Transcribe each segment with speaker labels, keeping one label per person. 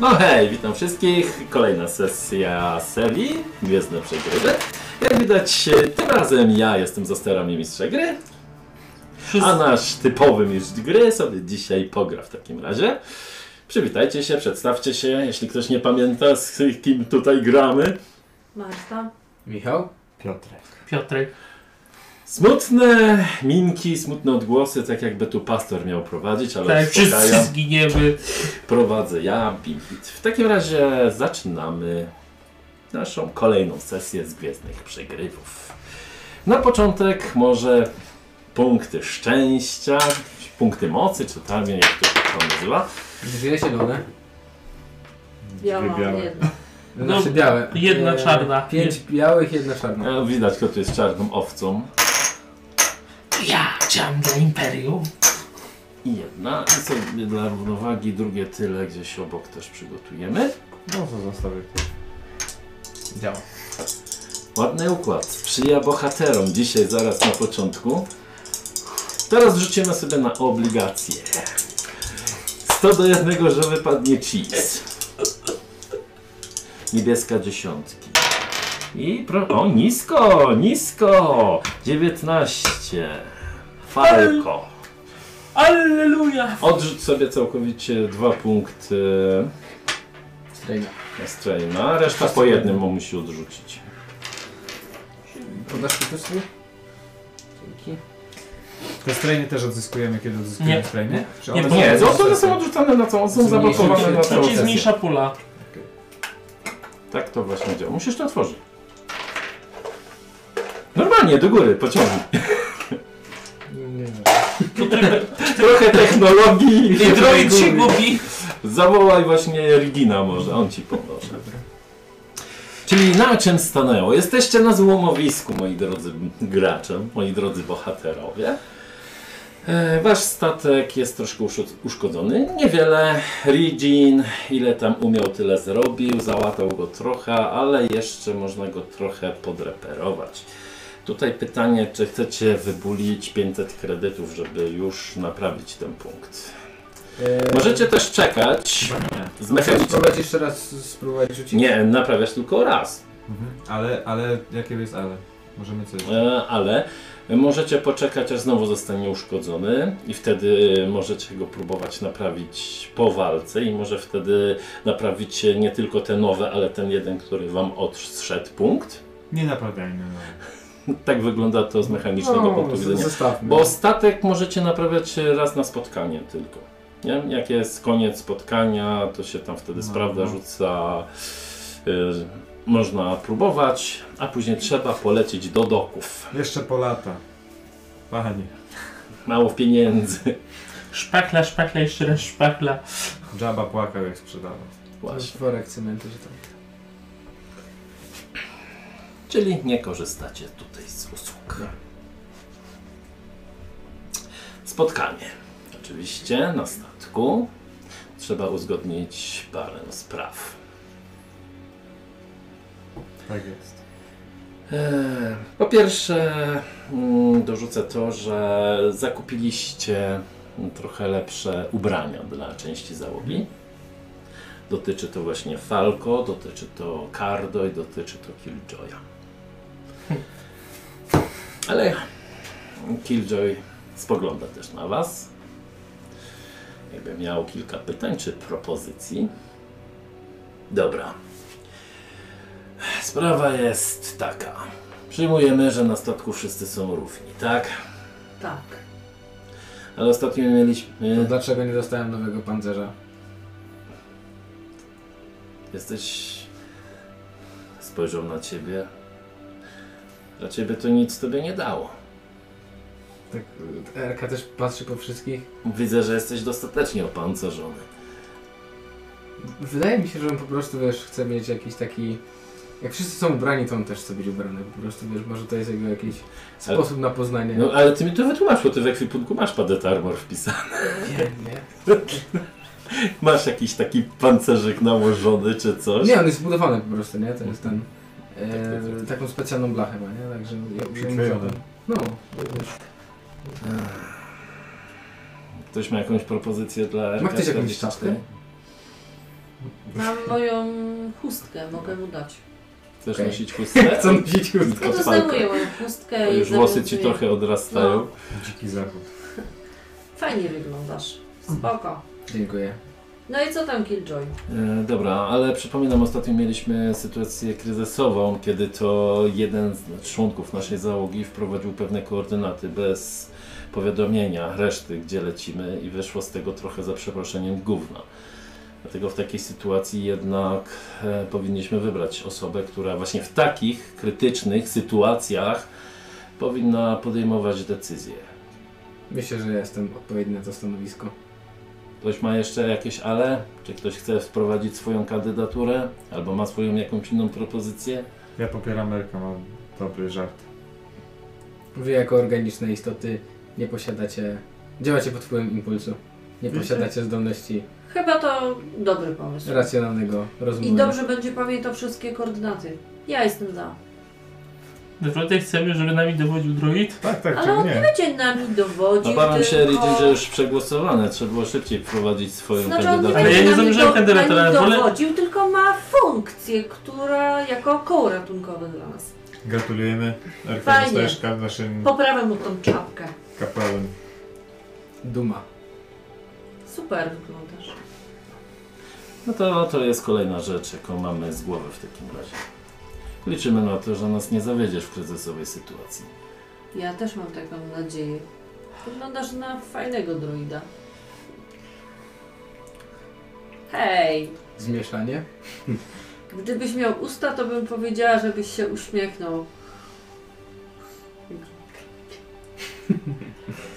Speaker 1: No hej, witam wszystkich. Kolejna sesja serii Gwiezdne Przegrywy. Jak widać, e, tym razem ja jestem za sterami mistrza gry, a nasz typowy mistrz gry sobie dzisiaj pogra w takim razie. Przywitajcie się, przedstawcie się, jeśli ktoś nie pamięta z kim tutaj gramy.
Speaker 2: Marta.
Speaker 3: Michał?
Speaker 4: Piotrek.
Speaker 5: Piotrek.
Speaker 1: Smutne minki, smutne odgłosy, tak jakby tu pastor miał prowadzić, ale
Speaker 5: Tak, wszyscy
Speaker 1: uspokajam.
Speaker 5: zginiemy.
Speaker 1: prowadzę ja, Bimfit. W takim razie zaczynamy naszą kolejną sesję z Gwiezdnych Przegrywów. Na początek może punkty szczęścia, punkty mocy, czy tam jak to się nazywa.
Speaker 3: Dwie zielone.
Speaker 2: Ja mam
Speaker 4: białe.
Speaker 2: jedno.
Speaker 3: No,
Speaker 5: No,
Speaker 3: znaczy białe.
Speaker 5: jedna czarna.
Speaker 3: Pięć białych, jedna czarna.
Speaker 1: E, Widać, kto tu jest czarną owcą.
Speaker 5: Ja chciałam dla Imperium.
Speaker 1: I jedna, i sobie dla równowagi drugie tyle gdzieś obok też przygotujemy.
Speaker 4: No to zostawię to.
Speaker 3: Działa.
Speaker 1: Ładny układ. Sprzyja bohaterom dzisiaj, zaraz na początku. Teraz rzucimy sobie na obligacje. 100 do jednego, że wypadnie cheese. Niebieska dziesiątki. I pro... O, nisko, nisko! 19. Falko.
Speaker 5: Alleluja!
Speaker 1: Odrzuć sobie całkowicie dwa punkty
Speaker 3: Strajna.
Speaker 1: straina. Reszta po jednym mu musi odrzucić.
Speaker 3: Podasz mi też sobie? Dzięki.
Speaker 4: Te strajny też odzyskujemy, kiedy odzyskujemy
Speaker 5: Nie.
Speaker 4: strajny? Czy
Speaker 5: Nie,
Speaker 4: one
Speaker 1: Nie,
Speaker 4: są-
Speaker 1: to one są odrzucane na całą, są
Speaker 3: Zmniejszy
Speaker 1: zablokowane
Speaker 3: się-
Speaker 1: na całą
Speaker 5: To ci
Speaker 1: sesję.
Speaker 5: zmniejsza pula.
Speaker 1: Tak to właśnie działa. Musisz to otworzyć. Normalnie, do góry, pociągnij.
Speaker 3: Nie, nie.
Speaker 1: Trochę technologii.
Speaker 5: Ty droid się gubi.
Speaker 1: Zawołaj właśnie Rigina może, on ci pomoże. Czyli na czym stanęło? Jesteście na złomowisku, moi drodzy gracze, moi drodzy bohaterowie. E, Wasz statek jest troszkę uszu- uszkodzony. Niewiele. Rigin, ile tam umiał, tyle zrobił. Załatał go trochę, ale jeszcze można go trochę podreperować. Tutaj pytanie, czy chcecie wybulić 500 kredytów, żeby już naprawić ten punkt.
Speaker 3: Eee,
Speaker 1: Możecie też czekać. Z
Speaker 3: Musisz
Speaker 1: mechanicznym.
Speaker 3: spróbować jeszcze raz spróbować rzucić?
Speaker 1: Nie, naprawiasz tylko raz,
Speaker 4: Mhm. Ale, ale, jakie jest ale? Możemy coś...
Speaker 1: E, ale możecie poczekać, aż znowu zostanie uszkodzony i wtedy możecie go próbować naprawić po walce i może wtedy naprawicie nie tylko te nowe, ale ten jeden, który wam odszedł punkt.
Speaker 4: Nie naprawiajmy. No.
Speaker 1: Tak wygląda to z mechanicznego punktu
Speaker 3: z-
Speaker 1: widzenia.
Speaker 3: Zostawmy.
Speaker 1: Bo statek możecie naprawiać raz na spotkanie tylko. Nie? Jak jest koniec spotkania, to się tam wtedy
Speaker 4: No,
Speaker 1: sprawdza,
Speaker 4: no.
Speaker 1: rzuca. y, można próbować, a później trzeba polecieć do doków.
Speaker 4: Jeszcze po lata. Panie.
Speaker 1: Mało
Speaker 4: Mhm.
Speaker 1: pieniędzy.
Speaker 5: Szpachla, szpachla, jeszcze raz szpachla.
Speaker 4: Jabba płakał jak sprzedawał.
Speaker 1: Właśnie.
Speaker 3: Worek cementu, że tam.
Speaker 1: Czyli nie korzystacie tutaj z
Speaker 4: No.
Speaker 1: usług. Spotkanie. Oczywiście na statku. Trzeba uzgodnić parę spraw.
Speaker 4: Tak jest.
Speaker 1: Eee, Po pierwsze, mm, dorzucę to, że zakupiliście trochę lepsze ubrania dla części załogi. Dotyczy to właśnie Falco, dotyczy to Cardo i dotyczy to Killjoya. Ale Killjoy spogląda też na Was. Jakby miał kilka pytań czy propozycji. Dobra. Sprawa jest taka. Przyjmujemy, że na statku wszyscy są równi, tak?
Speaker 2: Tak.
Speaker 1: Ale ostatnio
Speaker 3: To
Speaker 1: mieliśmy.
Speaker 3: dlaczego nie dostałem nowego pancerza?
Speaker 1: Jesteś. Spojrzał na ciebie. Dla ciebie to nic tobie nie dało.
Speaker 3: Tak, RK też patrzy po wszystkich.
Speaker 1: Widzę, że jesteś dostatecznie opancerzony.
Speaker 3: Wydaje mi się, że on po prostu, wiesz, chce mieć jakiś taki... Jak wszyscy są ubrani, to on też chce być ubrany. Po prostu, wiesz, może to jest jego jakiś
Speaker 1: Ale-
Speaker 3: sposób na poznanie.
Speaker 1: No ale ty mi to wytłumacz, bo ty w ekwipunku masz padet armor wpisany.
Speaker 3: Wiem, nie?
Speaker 1: Masz jakiś taki pancerzyk nałożony czy coś.
Speaker 3: Nie, on jest zbudowany po prostu, nie? To jest ten.
Speaker 1: Tak, tak,
Speaker 3: E, taką specjalną blachę ma, nie? Także. ja-
Speaker 4: Przyklejony.
Speaker 3: No,
Speaker 1: Ktoś ma jakąś propozycję dla.
Speaker 3: Ma ktoś
Speaker 1: RK-47?
Speaker 3: jakąś czapkę?
Speaker 2: Mam moją chustkę, mogę mu dać.
Speaker 1: Chcesz
Speaker 3: Okej.
Speaker 1: nosić chustę?
Speaker 3: Chcą nosić chustkę.
Speaker 2: No to
Speaker 1: Odpalkę.
Speaker 2: zdejmuję moją chustkę i
Speaker 1: Już włosy ci
Speaker 2: zamontuję.
Speaker 1: trochę odrastają.
Speaker 4: Dziki zachód.
Speaker 2: Fajnie wyglądasz.
Speaker 1: Mm.
Speaker 2: Spoko.
Speaker 3: Dziękuję.
Speaker 2: No i co tam Killjoy?
Speaker 1: E, dobra, ale przypominam, ostatnio mieliśmy sytuację kryzysową, kiedy to jeden z członków naszej załogi wprowadził pewne koordynaty bez powiadomienia reszty, gdzie lecimy i wyszło z tego trochę za przeproszeniem gówna. Dlatego w takiej sytuacji jednak e, powinniśmy wybrać osobę, która właśnie w takich krytycznych sytuacjach powinna podejmować decyzje.
Speaker 3: Myślę, że jestem odpowiedni na to stanowisko.
Speaker 1: Ktoś ma jeszcze jakieś ale? Czy ktoś chce wprowadzić swoją kandydaturę? Albo ma swoją jakąś inną propozycję?
Speaker 4: Ja popieram Erka, mam dobry żart.
Speaker 3: Wy jako organiczne istoty nie posiadacie... Działacie pod wpływem impulsu. Nie
Speaker 4: Wiecie?
Speaker 3: posiadacie zdolności
Speaker 2: Chyba to dobry pomysł.
Speaker 3: racjonalnego rozumu.
Speaker 2: I dobrze będzie pamiętał wszystkie koordynaty. Ja jestem za.
Speaker 5: Naprawdę chcemy, żeby nami dowodził druid?
Speaker 4: Tak, tak,
Speaker 2: Ale
Speaker 4: czemu
Speaker 2: on
Speaker 4: nie?
Speaker 2: Będzie nami dowodził
Speaker 1: Obawiam No, się,
Speaker 2: tylko...
Speaker 1: Ridin, że już przegłosowane. Trzeba było szybciej wprowadzić swoją
Speaker 2: Znaczy on nie
Speaker 1: kandydaturę.
Speaker 5: Ale ja
Speaker 2: będzie
Speaker 5: nie
Speaker 2: nami
Speaker 5: zamierzam
Speaker 2: do-
Speaker 5: kandydatora,
Speaker 2: nami
Speaker 5: wolę-
Speaker 2: dowodził, tylko ma funkcję, która jako koło ratunkowe dla nas.
Speaker 4: Gratulujemy. Erka
Speaker 2: Fajnie.
Speaker 4: zostajesz ka- naszym
Speaker 2: Poprawę mu tą czapkę.
Speaker 4: kapelem.
Speaker 3: Duma.
Speaker 2: Super wyglądasz.
Speaker 1: No to, to jest kolejna rzecz, jaką mamy z głowy w takim razie. Liczymy na to, że nas nie zawiedziesz w kryzysowej sytuacji.
Speaker 2: Ja też mam taką nadzieję. Wyglądasz na fajnego druida. Hej!
Speaker 3: Zmieszanie?
Speaker 2: Gdybyś miał usta, to bym powiedziała, żebyś się uśmiechnął.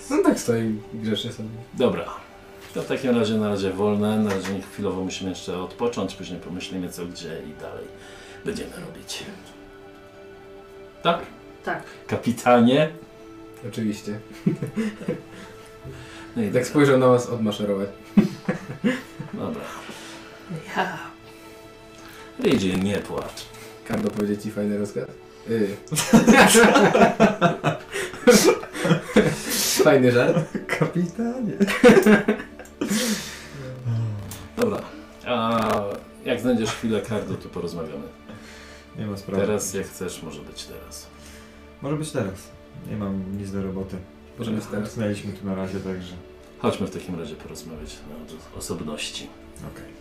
Speaker 3: No tak stoi grzeszy sobie.
Speaker 1: Dobra. To w takim razie na razie wolne. Na razie chwilowo musimy jeszcze odpocząć. Później pomyślimy co, gdzie i dalej będziemy robić. Tak?
Speaker 2: Tak.
Speaker 1: Kapitanie.
Speaker 3: Oczywiście.
Speaker 1: No i
Speaker 3: Jak spojrzał na was, odmaszerować.
Speaker 1: Dobra.
Speaker 5: Ja.
Speaker 1: Ridzi, nie płacz.
Speaker 3: Kardo powiedzieć ci fajny rozkaz? Yy. Fajny żart.
Speaker 4: Kapitanie.
Speaker 1: Dobra. A jak znajdziesz chwilę kardu, to porozmawiamy.
Speaker 4: Nie ma sprawy.
Speaker 1: Teraz jak chcesz, może być teraz.
Speaker 4: Może być teraz. Nie mam nic do roboty.
Speaker 3: Możemy teraz.
Speaker 4: Znaliśmy tu na razie, także.
Speaker 1: Chodźmy w takim razie porozmawiać na osobności. No
Speaker 4: Okej.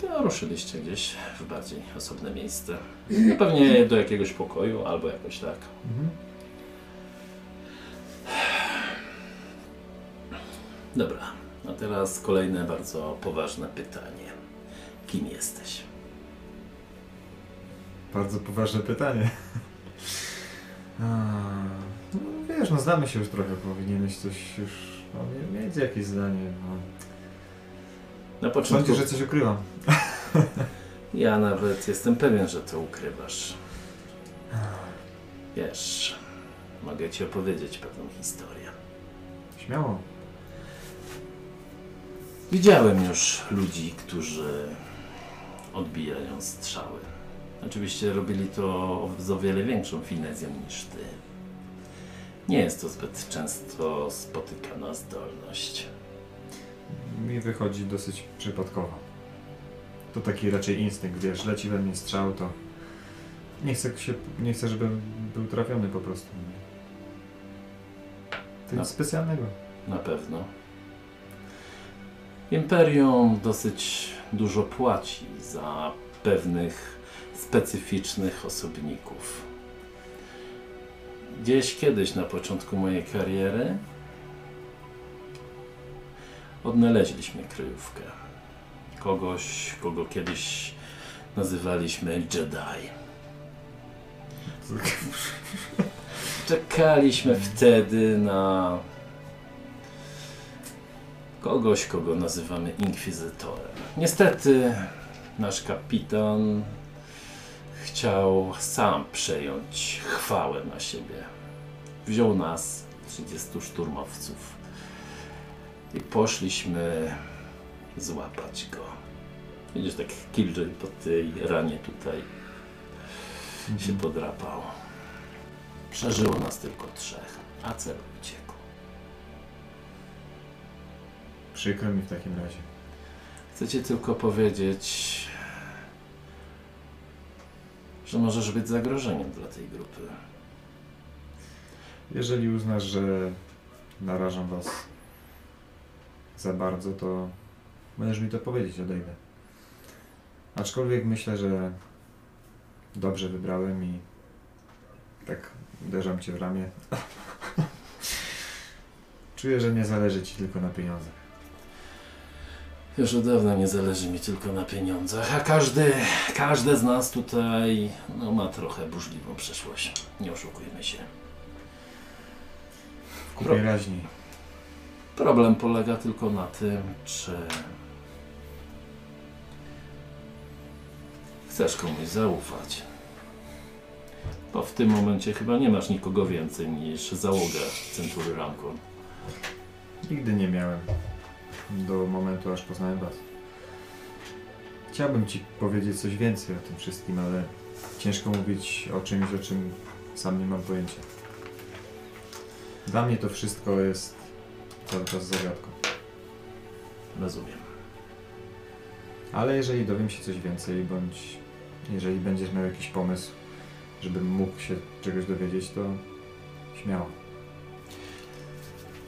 Speaker 1: To ruszyliście gdzieś w bardziej osobne miejsce. No Pewnie do jakiegoś pokoju albo jakoś tak.
Speaker 4: Mhm.
Speaker 1: Dobra. A teraz kolejne bardzo poważne pytanie. Kim jesteś?
Speaker 4: Bardzo poważne pytanie. A, no wiesz, no znamy się już trochę, powinieneś coś już no, mieć jakieś zdanie. No.
Speaker 1: Na początku
Speaker 4: Sądzisz, że coś ukrywam.
Speaker 1: ja nawet jestem pewien, że to ukrywasz. Wiesz, mogę ci opowiedzieć pewną historię.
Speaker 4: Śmiało.
Speaker 1: Widziałem już ludzi, którzy odbijają strzały. Oczywiście robili to z o wiele większą finezją niż ty. Nie jest to zbyt często spotykana zdolność.
Speaker 4: Mi wychodzi dosyć przypadkowo. To taki raczej instynkt, wiesz, leci we mnie strzał, to nie chcę, się, nie chcę żebym był trafiony po prostu. To
Speaker 1: No.
Speaker 4: nic specjalnego.
Speaker 1: Na pewno. Imperium dosyć dużo płaci za pewnych specyficznych osobników. Gdzieś kiedyś na początku mojej kariery odnaleźliśmy kryjówkę. Kogoś, kogo kiedyś nazywaliśmy Jedi. Czekaliśmy wtedy na kogoś, kogo nazywamy inkwizytorem. Niestety nasz kapitan chciał sam przejąć chwałę na siebie. Wziął nas, 30 szturmowców, i poszliśmy złapać go. Widzisz, tak Killjoy po tej ranie tutaj się podrapał. Przeżyło nas tylko trzech, a cel uciekł.
Speaker 4: Przykro mi w takim razie.
Speaker 1: Chcę ci tylko powiedzieć, że możesz być zagrożeniem dla tej grupy.
Speaker 4: Jeżeli uznasz, że narażam was za bardzo, to możesz mi to powiedzieć, odejdę. Aczkolwiek myślę, że dobrze wybrałem i tak uderzam cię w ramię. Czuję, że nie zależy ci tylko na pieniądzach.
Speaker 1: Już od dawna nie zależy mi tylko na pieniądzach, a każdy, każdy z nas tutaj no, ma trochę burzliwą przeszłość. Nie oszukujmy się.
Speaker 4: W
Speaker 1: Pro-
Speaker 4: kupie raźniej.
Speaker 1: Problem polega tylko na tym, czy chcesz komuś zaufać. Bo w tym momencie chyba nie masz nikogo więcej niż załogę Century Ramką.
Speaker 4: Nigdy nie miałem. Do momentu, aż poznałem was. Chciałbym ci powiedzieć coś więcej o tym wszystkim, ale ciężko mówić o czymś, o czym sam nie mam pojęcia. Dla mnie to wszystko jest cały czas zagadką.
Speaker 1: Rozumiem.
Speaker 4: Ale jeżeli dowiem się coś więcej, bądź jeżeli będziesz miał jakiś pomysł, żebym mógł się czegoś dowiedzieć, to śmiało.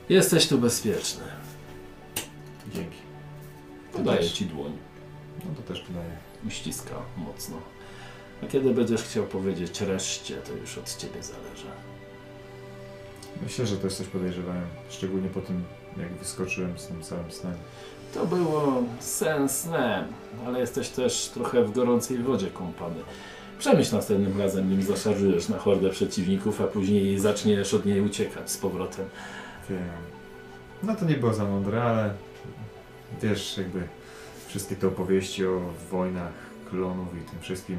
Speaker 1: Jesteś tu bezpieczny.
Speaker 4: Dzięki.
Speaker 1: Podaję ci dłoń.
Speaker 4: No to też podaję.
Speaker 1: Uściska mocno. A kiedy będziesz chciał powiedzieć reszcie, to już od ciebie zależy.
Speaker 4: Myślę, że też coś podejrzewałem, szczególnie po tym, jak wyskoczyłem z tym całym snem.
Speaker 1: To było sens snem, ale jesteś też trochę w gorącej wodzie kąpany. Przemyśl następnym razem, nim zaszarżujesz na hordę przeciwników, a później zaczniesz od niej uciekać z powrotem.
Speaker 4: Wiem. No to nie było za mądre, ale wiesz, jakby wszystkie te opowieści o wojnach klonów i tym wszystkim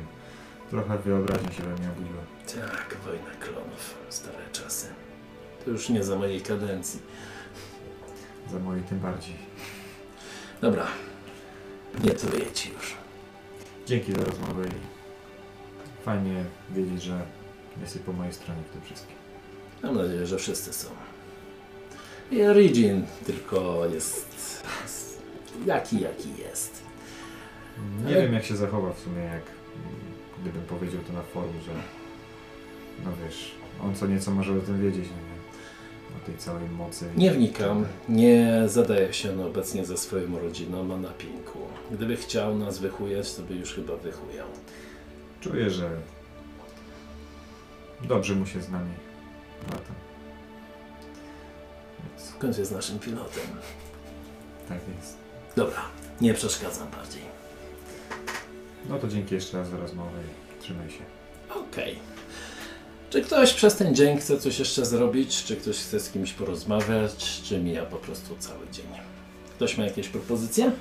Speaker 4: trochę wyobraźni się we mnie obudziła.
Speaker 1: Tak, wojna klonów, stare czasy. To już nie za mojej kadencji.
Speaker 4: Za mojej tym bardziej.
Speaker 1: Dobra, nie truję ci już.
Speaker 4: Dzięki za rozmowę i fajnie wiedzieć, że jesteś po mojej stronie w tym wszystkim.
Speaker 1: Mam nadzieję, że wszyscy są. I Origin tylko jest... jest jaki, jaki jest.
Speaker 4: Nie
Speaker 1: Ale-
Speaker 4: wiem jak się zachowa w sumie, jak mm, gdybym powiedział to na forum, że no wiesz, on co nieco może o tym wiedzieć, no nie? O tej całej mocy. i-
Speaker 1: Nie wnikam, nie zadaję się no obecnie ze swoją rodziną, a na pinku. Gdyby chciał nas wychujać, to by już chyba wychujał.
Speaker 4: Czuję, że dobrze mu się z nami lata. Więc
Speaker 1: W końcu jest naszym pilotem.
Speaker 4: tak jest.
Speaker 1: Dobra, nie przeszkadzam bardziej.
Speaker 4: No to dzięki jeszcze raz za rozmowę i trzymaj się.
Speaker 1: Okej. Czy ktoś przez ten dzień chce coś jeszcze zrobić? Czy ktoś chce z kimś porozmawiać? Czy mija po prostu cały dzień? Ktoś ma jakieś propozycje?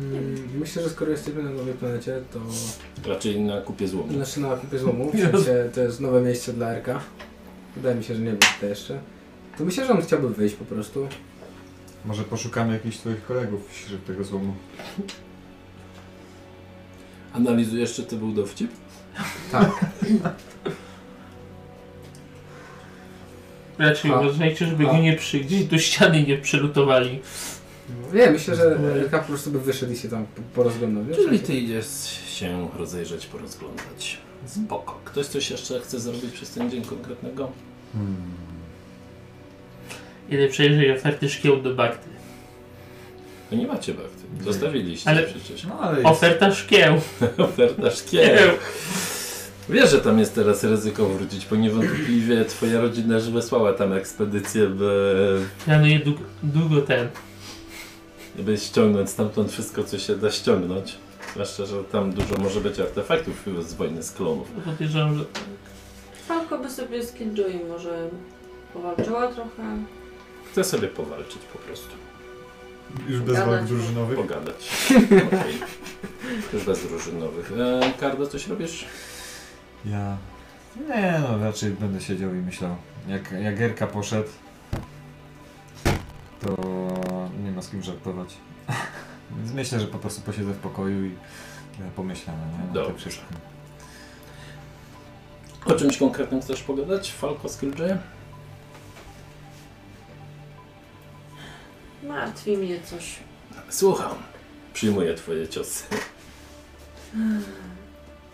Speaker 3: Mm, myślę, że skoro jesteśmy na nowej planecie, to
Speaker 1: Raczej na kupie złomu.
Speaker 3: znaczy na kupie złomu, w sensie to jest nowe miejsce dla Erka. Wydaje mi się, że nie wiem to jeszcze. To myślę, że on chciałby wyjść po prostu.
Speaker 4: Może poszukamy jakichś twoich kolegów wśród tego złomu.
Speaker 1: Analizujesz, czy to był dowcip?
Speaker 5: Raczej
Speaker 3: A.
Speaker 5: uważajcie, żeby
Speaker 3: A.
Speaker 5: go nie przy, gdzieś do ściany nie przylutowali.
Speaker 3: Nie, myślę, że Erka po prostu by wyszedł i się tam po- porozglądał. wiesz?
Speaker 1: Czyli ty idziesz się rozejrzeć, porozglądać. Spoko. Ktoś coś jeszcze chce zrobić przez ten dzień konkretnego?
Speaker 4: Hmm.
Speaker 5: Ile przejrzyj oferty szkieł do bakty.
Speaker 1: No nie macie bakty.
Speaker 4: Nie.
Speaker 1: Zostawiliście
Speaker 5: Ale-
Speaker 1: przecież.
Speaker 4: No ale jest...
Speaker 5: Oferta szkieł.
Speaker 1: Oferta szkieł. Wiesz, że tam jest teraz ryzyko wrócić, bo niewątpliwie twoja rodzina że wysłała tam ekspedycję, by,
Speaker 5: Planuję długo, no długo ten.
Speaker 1: by ściągnąć stamtąd wszystko, co się da ściągnąć. Zwłaszcza, że tam dużo może być artefaktów z wojny z klonów.
Speaker 5: Podejrzewam, że
Speaker 2: Falko by sobie z Killjoy może powalczyła trochę.
Speaker 1: Chcę sobie powalczyć po prostu.
Speaker 4: Już bez
Speaker 2: Gadać.
Speaker 4: walk drużynowych.
Speaker 1: Pogadać. Okej. Już bez drużynowych. E, Kardo, coś robisz?
Speaker 4: Ja... Nie no, raczej będę siedział i myślał. Jak Jagerka poszedł, to nie ma z kim żartować. Więc myślę, że po prostu posiedzę w pokoju i e, pomyślę no nie? o
Speaker 1: Dobrze.
Speaker 4: tym wszystkim.
Speaker 1: O czymś konkretnym chcesz pogadać? Falco z Killjoy?
Speaker 2: Martwi mnie coś.
Speaker 1: Słucham. Przyjmuję twoje ciosy.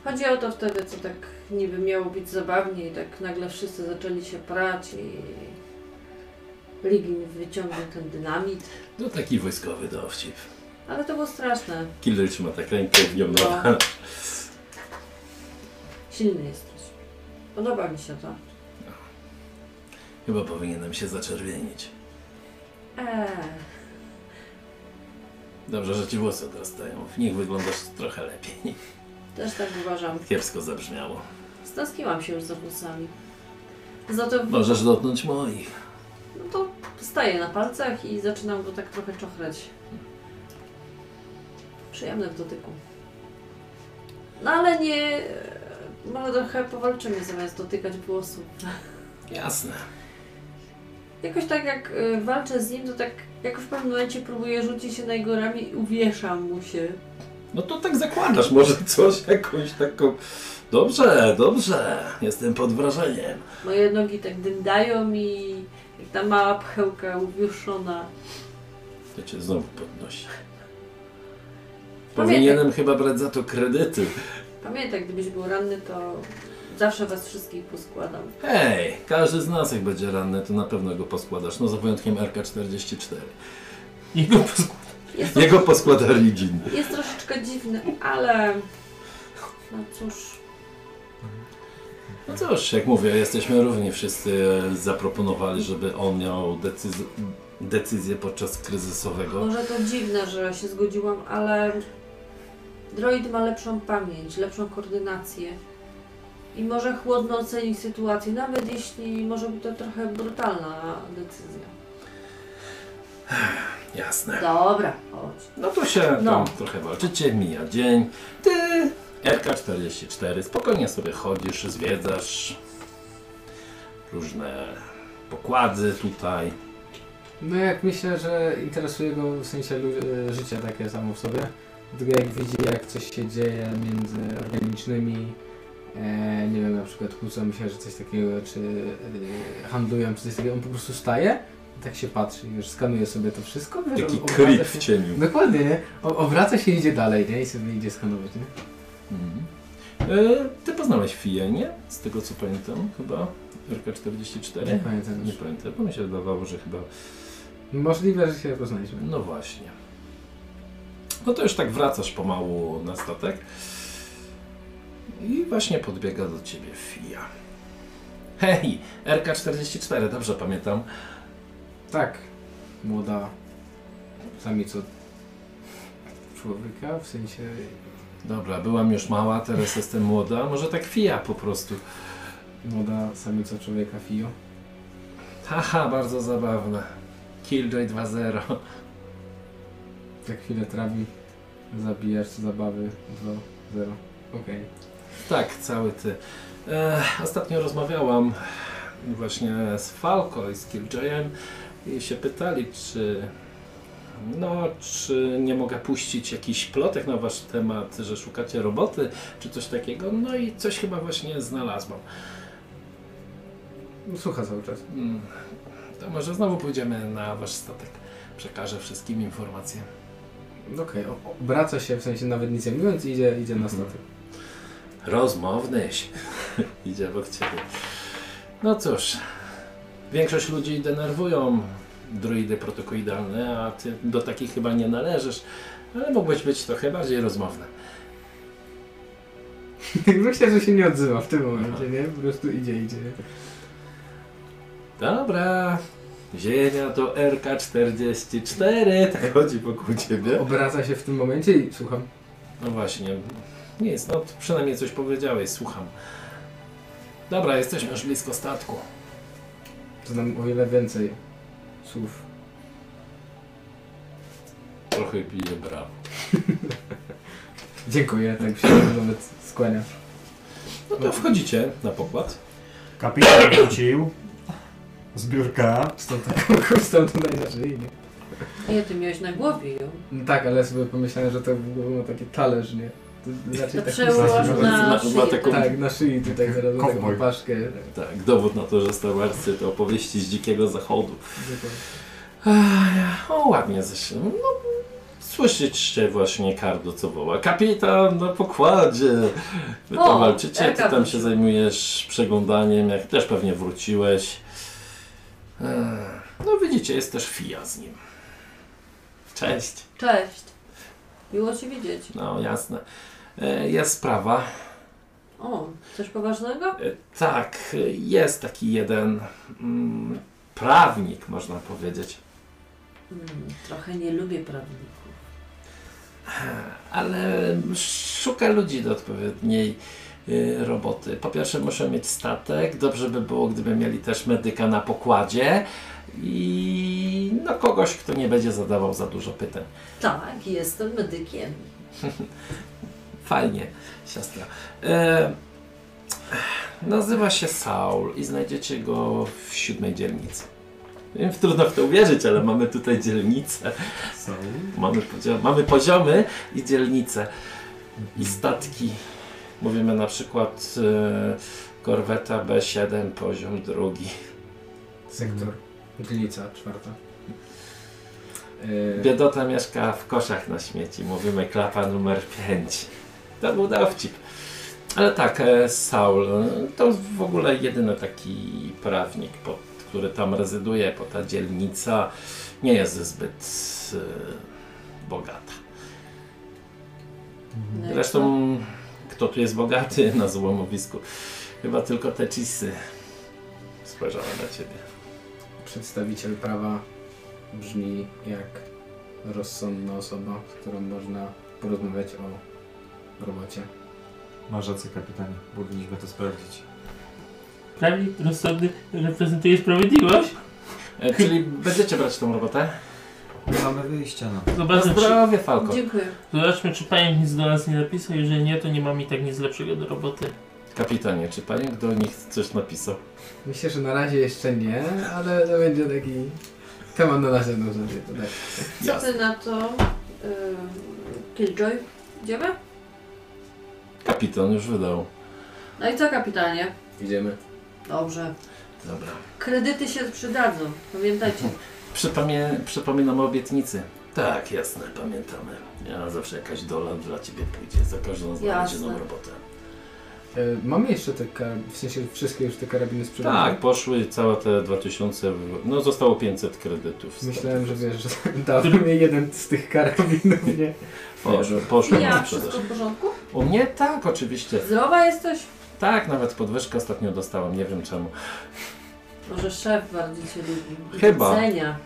Speaker 2: Chodzi o to wtedy, co tak niby miało być zabawnie i tak nagle wszyscy zaczęli się prać i Ligin wyciągnął ten dynamit.
Speaker 1: No taki wojskowy dowcip.
Speaker 2: Ale to było straszne.
Speaker 1: Kilder trzyma tak rękę w nią noga.
Speaker 2: No. Silny jesteś. Podoba mi się to.
Speaker 1: Chyba powinienem się zaczerwienić.
Speaker 2: Eee,
Speaker 1: Dobrze, że ci włosy odrastają. W nich wyglądasz trochę lepiej.
Speaker 2: też tak uważam.
Speaker 1: Kiepsko zabrzmiało.
Speaker 2: Stęskiłam się już za włosami. Za to no
Speaker 1: Możesz dotknąć moich.
Speaker 2: to staję na palcach i zaczynam go tak trochę czochrać. Przyjemne w dotyku. No ale nie... Może trochę powalczymy zamiast dotykać włosów.
Speaker 1: Jasne.
Speaker 2: Jakoś tak jak y, walczę z nim, to tak jakoś w pewnym momencie próbuję rzucić się na jego ramię i uwieszam mu się.
Speaker 1: No to tak zakładasz może coś, jakąś taką... Dobrze, dobrze. Jestem pod wrażeniem.
Speaker 2: Moje nogi tak dyndają i jak ta mała pchełka uwieszona.
Speaker 1: To cię znowu podnosi. Powinienem chyba brać za to kredyty.
Speaker 2: Pamiętaj, gdybyś był ranny, to zawsze was wszystkich poskładam.
Speaker 1: Hej, każdy z nas jak będzie ranny, to na pewno go poskładasz. No za wyjątkiem RK-44.
Speaker 5: Jego posku...
Speaker 2: Jest,
Speaker 1: Jego poskłada Rigin.
Speaker 2: jest troszeczkę dziwny, ale no cóż,
Speaker 1: No cóż, jak mówię, jesteśmy równi. Wszyscy e, zaproponowali, żeby on miał decyz- decyzję podczas kryzysowego.
Speaker 2: może to dziwne, że się zgodziłam, ale droid ma lepszą pamięć, lepszą koordynację i może chłodno ocenić sytuację, nawet jeśli może być to trochę brutalna decyzja.
Speaker 1: Jasne.
Speaker 2: Dobra, chodź.
Speaker 1: No to się
Speaker 2: No.
Speaker 1: tam trochę walczycie, mija dzień. Ty, RK-44, spokojnie sobie chodzisz, zwiedzasz różne pokłady tutaj.
Speaker 3: No jak myślę, że interesuje go w sensie lu- e, życia takie samo w sobie, tylko jak widzi jak coś się dzieje między organicznymi, e, nie wiem, na przykład kłócą się, że coś takiego, czy e, handlują, czy coś takiego, on po prostu staje i tak się patrzy, wiesz, skanuje sobie to wszystko, wiesz,
Speaker 1: Taki
Speaker 3: on obraca
Speaker 1: creep
Speaker 3: się- No.
Speaker 1: w cieniu.
Speaker 3: Dokładnie, nie? O, obraca się i idzie dalej, nie? I sobie idzie skanować, nie?
Speaker 1: Mhm. E, ty poznałeś Fiję, nie? Z tego co pamiętam chyba. RK-44?
Speaker 3: Nie pamiętam
Speaker 1: Nie
Speaker 3: już.
Speaker 1: pamiętam, bo mi się wydawało, że chyba
Speaker 3: Możliwe, że się poznaliśmy.
Speaker 1: No właśnie. No to już tak wracasz pomału na statek. I właśnie podbiega do ciebie Fia. Hej, RK-44, dobrze pamiętam.
Speaker 3: Tak, młoda samica człowieka, w sensie...
Speaker 1: Dobra, byłam już mała, teraz jestem młoda. Może tak Fia po prostu.
Speaker 3: Młoda samica człowieka Fio.
Speaker 1: Haha, bardzo zabawne. Killjoy 2.0.
Speaker 3: Za chwilę trawi zabijacz zabawy 2-0. Okej.
Speaker 1: Tak, cały ty. E, ostatnio rozmawiałam właśnie z Falco i z Killjoyem i się pytali, czy no, czy nie mogę puścić jakiś plotek na wasz temat, że szukacie roboty, czy coś takiego. No i coś chyba właśnie znalazłam.
Speaker 3: No, Słucha cały czas.
Speaker 1: Mm, To może znowu pójdziemy na wasz statek. Przekażę wszystkim informacje.
Speaker 3: Okej, o- obraca się, w sensie nawet nic nie mówiąc i idzie, idzie na
Speaker 1: Mhm.
Speaker 3: statek.
Speaker 1: Rozmownyś. Idzie obok ciebie. No cóż, większość ludzi denerwują druidy protokoidalne, a ty do takich chyba nie należysz, ale mógłbyś być trochę bardziej rozmowny.
Speaker 3: Tak Myślę, że się nie odzywa w tym momencie, nie? Po prostu idzie, idzie.
Speaker 1: Dobra, ziemia to RK-44, tak chodzi wokół ciebie.
Speaker 3: Obraca się w tym momencie i słucham.
Speaker 1: No właśnie, nic, no przynajmniej coś powiedziałeś, słucham. Dobra, jesteśmy już blisko statku.
Speaker 3: Znam o wiele więcej słów.
Speaker 1: Trochę bije brawo.
Speaker 3: Dziękuję, tak się nawet skłania.
Speaker 1: No to wchodzicie na pokład.
Speaker 4: Kapitan wrócił z biurka.
Speaker 3: Stąd tak, stąd tutaj zaczęli, nie?
Speaker 2: Nie, ty miałeś na głowie ją.
Speaker 3: No tak, ale sobie pomyślałem, że to było taki talerz, nie? To
Speaker 2: To
Speaker 3: raczej tak
Speaker 2: przełoż
Speaker 4: na-
Speaker 1: na
Speaker 2: na szyję.
Speaker 1: taką-
Speaker 2: tak.
Speaker 3: Tak, na szyi tutaj zaraz
Speaker 4: Cowboy.
Speaker 3: taką paszkę.
Speaker 1: Tak, dowód na to, że Star Warsy to opowieści z Dzikiego Zachodu.
Speaker 3: Dokładnie.
Speaker 1: Ach, o, ładnie zresztą. No, Słyszycie właśnie Kardo, co woła. Kapitan na pokładzie! Wy tam
Speaker 2: O,
Speaker 1: walczycie, ty
Speaker 2: Erka
Speaker 1: tam się
Speaker 2: wróciła.
Speaker 1: zajmujesz przeglądaniem, jak też pewnie wróciłeś. Eee, No widzicie, jest też Fia z nim. Cześć.
Speaker 2: Cześć. Miło Cię widzieć.
Speaker 1: No jasne. E, Jest sprawa.
Speaker 2: O, coś poważnego?
Speaker 1: E, Tak, e, jest taki jeden mm, prawnik, można powiedzieć.
Speaker 2: Mm, trochę nie lubię prawników.
Speaker 1: ale szuka ludzi do odpowiedniej y, roboty. Po pierwsze muszą mieć statek, dobrze by było, gdyby mieli też medyka na pokładzie i no kogoś, kto nie będzie zadawał za dużo pytań.
Speaker 2: Tak, jestem medykiem.
Speaker 1: Fajnie, siostra. E, nazywa się Saul i znajdziecie go w siódmej dzielnicy. Wiem, Trudno w to uwierzyć, ale mamy tutaj dzielnicę.
Speaker 4: Są.
Speaker 1: Mamy, pozio- mamy poziomy i dzielnice i statki. Mówimy na przykład e, korweta B7, poziom drugi.
Speaker 3: Sektor. Mhm. Glica czwarta. E,
Speaker 1: Biedota mieszka w koszach na śmieci. Mówimy klapa numer 5. To był dowcip. Ale tak, e, Saul e, to w ogóle jedyny taki prawnik, pod, który tam rezyduje, bo ta dzielnica nie jest zbyt e, bogata.
Speaker 2: No i co?
Speaker 1: Zresztą, kto tu jest bogaty na złomowisku? Chyba tylko te cisy. Spojrzałem na ciebie.
Speaker 3: E, Przedstawiciel prawa brzmi jak rozsądna osoba, z którą można porozmawiać o robocie.
Speaker 4: Masz rację, kapitanie. Powinniśmy to sprawdzić.
Speaker 5: Prawnik rozsądny reprezentuje sprawiedliwość?
Speaker 1: E, czyli będziecie brać tą robotę?
Speaker 4: Nie mamy wyjścia, no.
Speaker 1: Na
Speaker 5: Zobaczmy, czy,
Speaker 1: zdrowie, Falko.
Speaker 2: Dziękuję.
Speaker 5: zobaczmy, czy pająk nic do nas nie napisał. Jeżeli nie, to nie mam i tak nic lepszego do roboty.
Speaker 1: Kapitanie, czy panie do nich coś napisał?
Speaker 3: Myślę, że na razie jeszcze nie, ale to będzie taki temat na następną sobie. To tak.
Speaker 2: Co Ty na to, yy, Killjoy? Idziemy?
Speaker 1: Kapitan już wydał.
Speaker 2: No i co, kapitanie?
Speaker 3: Idziemy.
Speaker 2: Dobrze.
Speaker 1: Dobra.
Speaker 2: Kredyty się przydadzą, pamiętajcie.
Speaker 1: Przypomie, przypominam o obietnicy. Tak, jasne, pamiętamy. Ja zawsze jakaś dola dla ciebie pójdzie za każdą znalezioną
Speaker 2: Jasne.
Speaker 1: robotę.
Speaker 3: E, mamy jeszcze te karabiny, w sensie wszystkie już te karabiny sprzedane?
Speaker 1: Tak, poszły całe te 2000, no zostało 500 kredytów.
Speaker 3: Myślałem, że wiesz, że dałem mi jeden z tych karabinów, nie?
Speaker 1: Poszły, poszły
Speaker 2: I ja,
Speaker 1: na sprzedaż.
Speaker 2: wszystko w porządku?
Speaker 1: U mnie tak, oczywiście.
Speaker 2: Zdrowa jesteś?
Speaker 1: Tak, nawet podwyżkę ostatnio dostałam, nie wiem czemu.
Speaker 2: Może szef bardziej cię lubi. i
Speaker 1: Chyba.
Speaker 2: Docenia.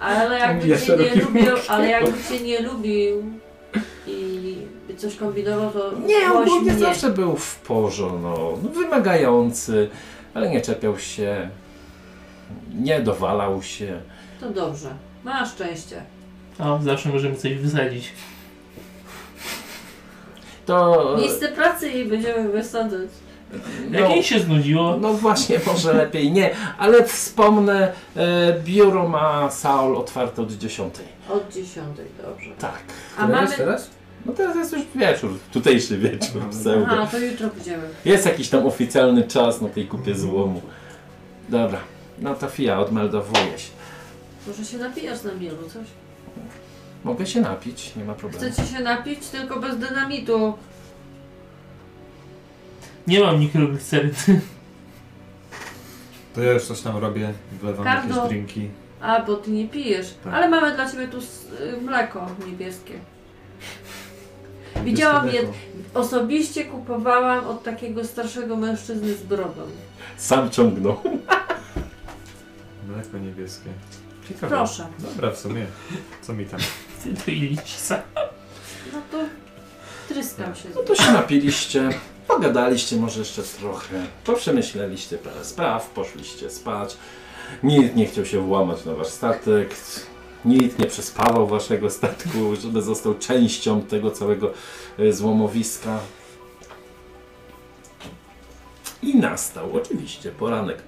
Speaker 2: Ale jakby
Speaker 3: Ja
Speaker 2: cię nie
Speaker 3: szerokim
Speaker 2: lubił, ale jakby cię nie lubił i by coś kombinował, to
Speaker 1: Nie,
Speaker 2: głoś
Speaker 1: ogólnie
Speaker 2: mnie.
Speaker 1: zawsze był w porządku, no, no, wymagający, ale nie czepiał się, nie dowalał się.
Speaker 2: To dobrze. Masz szczęście.
Speaker 5: O, zawsze możemy coś wysadzić.
Speaker 1: To...
Speaker 2: Miejsce pracy i będziemy wysadzać.
Speaker 5: Jak jej się znudziło,
Speaker 1: No właśnie, może lepiej nie, ale wspomnę, e, biuro ma Saul otwarte od 10.
Speaker 2: Od dziesiątej, dobrze.
Speaker 1: Tak.
Speaker 2: A
Speaker 3: Teraz,
Speaker 2: mamy...
Speaker 3: teraz?
Speaker 1: No teraz jest już wieczór, tutejszy wieczór, pseudo.
Speaker 2: Aha, to jutro pójdziemy.
Speaker 1: Jest jakiś tam oficjalny czas na tej kupie złomu. Dobra, no to Fia, odmeldowuję się.
Speaker 2: Może się napijasz na mielu, coś?
Speaker 1: Tak. Mogę się napić, nie ma problemu.
Speaker 2: Chcecie się napić, tylko bez dynamitu.
Speaker 5: nie mam mikrogliceryny.
Speaker 4: To ja już coś tam robię, wlewam
Speaker 2: Kardo.
Speaker 4: jakieś drinki.
Speaker 2: A, bo ty nie pijesz.
Speaker 4: Tak.
Speaker 2: Ale mamy dla ciebie tu s- y, mleko niebieskie. Widziałam je,
Speaker 4: Dyskoteko.
Speaker 2: osobiście kupowałam od takiego starszego mężczyzny z brodą.
Speaker 1: Sam ciągnął.
Speaker 4: Mleko niebieskie. Ciekawe.
Speaker 2: Proszę.
Speaker 4: Dobra, w sumie. Co mi tam?
Speaker 5: Ty to idź
Speaker 2: No to tryskam się.
Speaker 1: No to się napiliście, pogadaliście może jeszcze trochę, poprzemyśleliście parę spraw, poszliście spać. Nikt nie chciał się włamać na wasz statek, nikt nie przespawał waszego statku, żeby został częścią tego całego e, złomowiska. I nastał oczywiście poranek.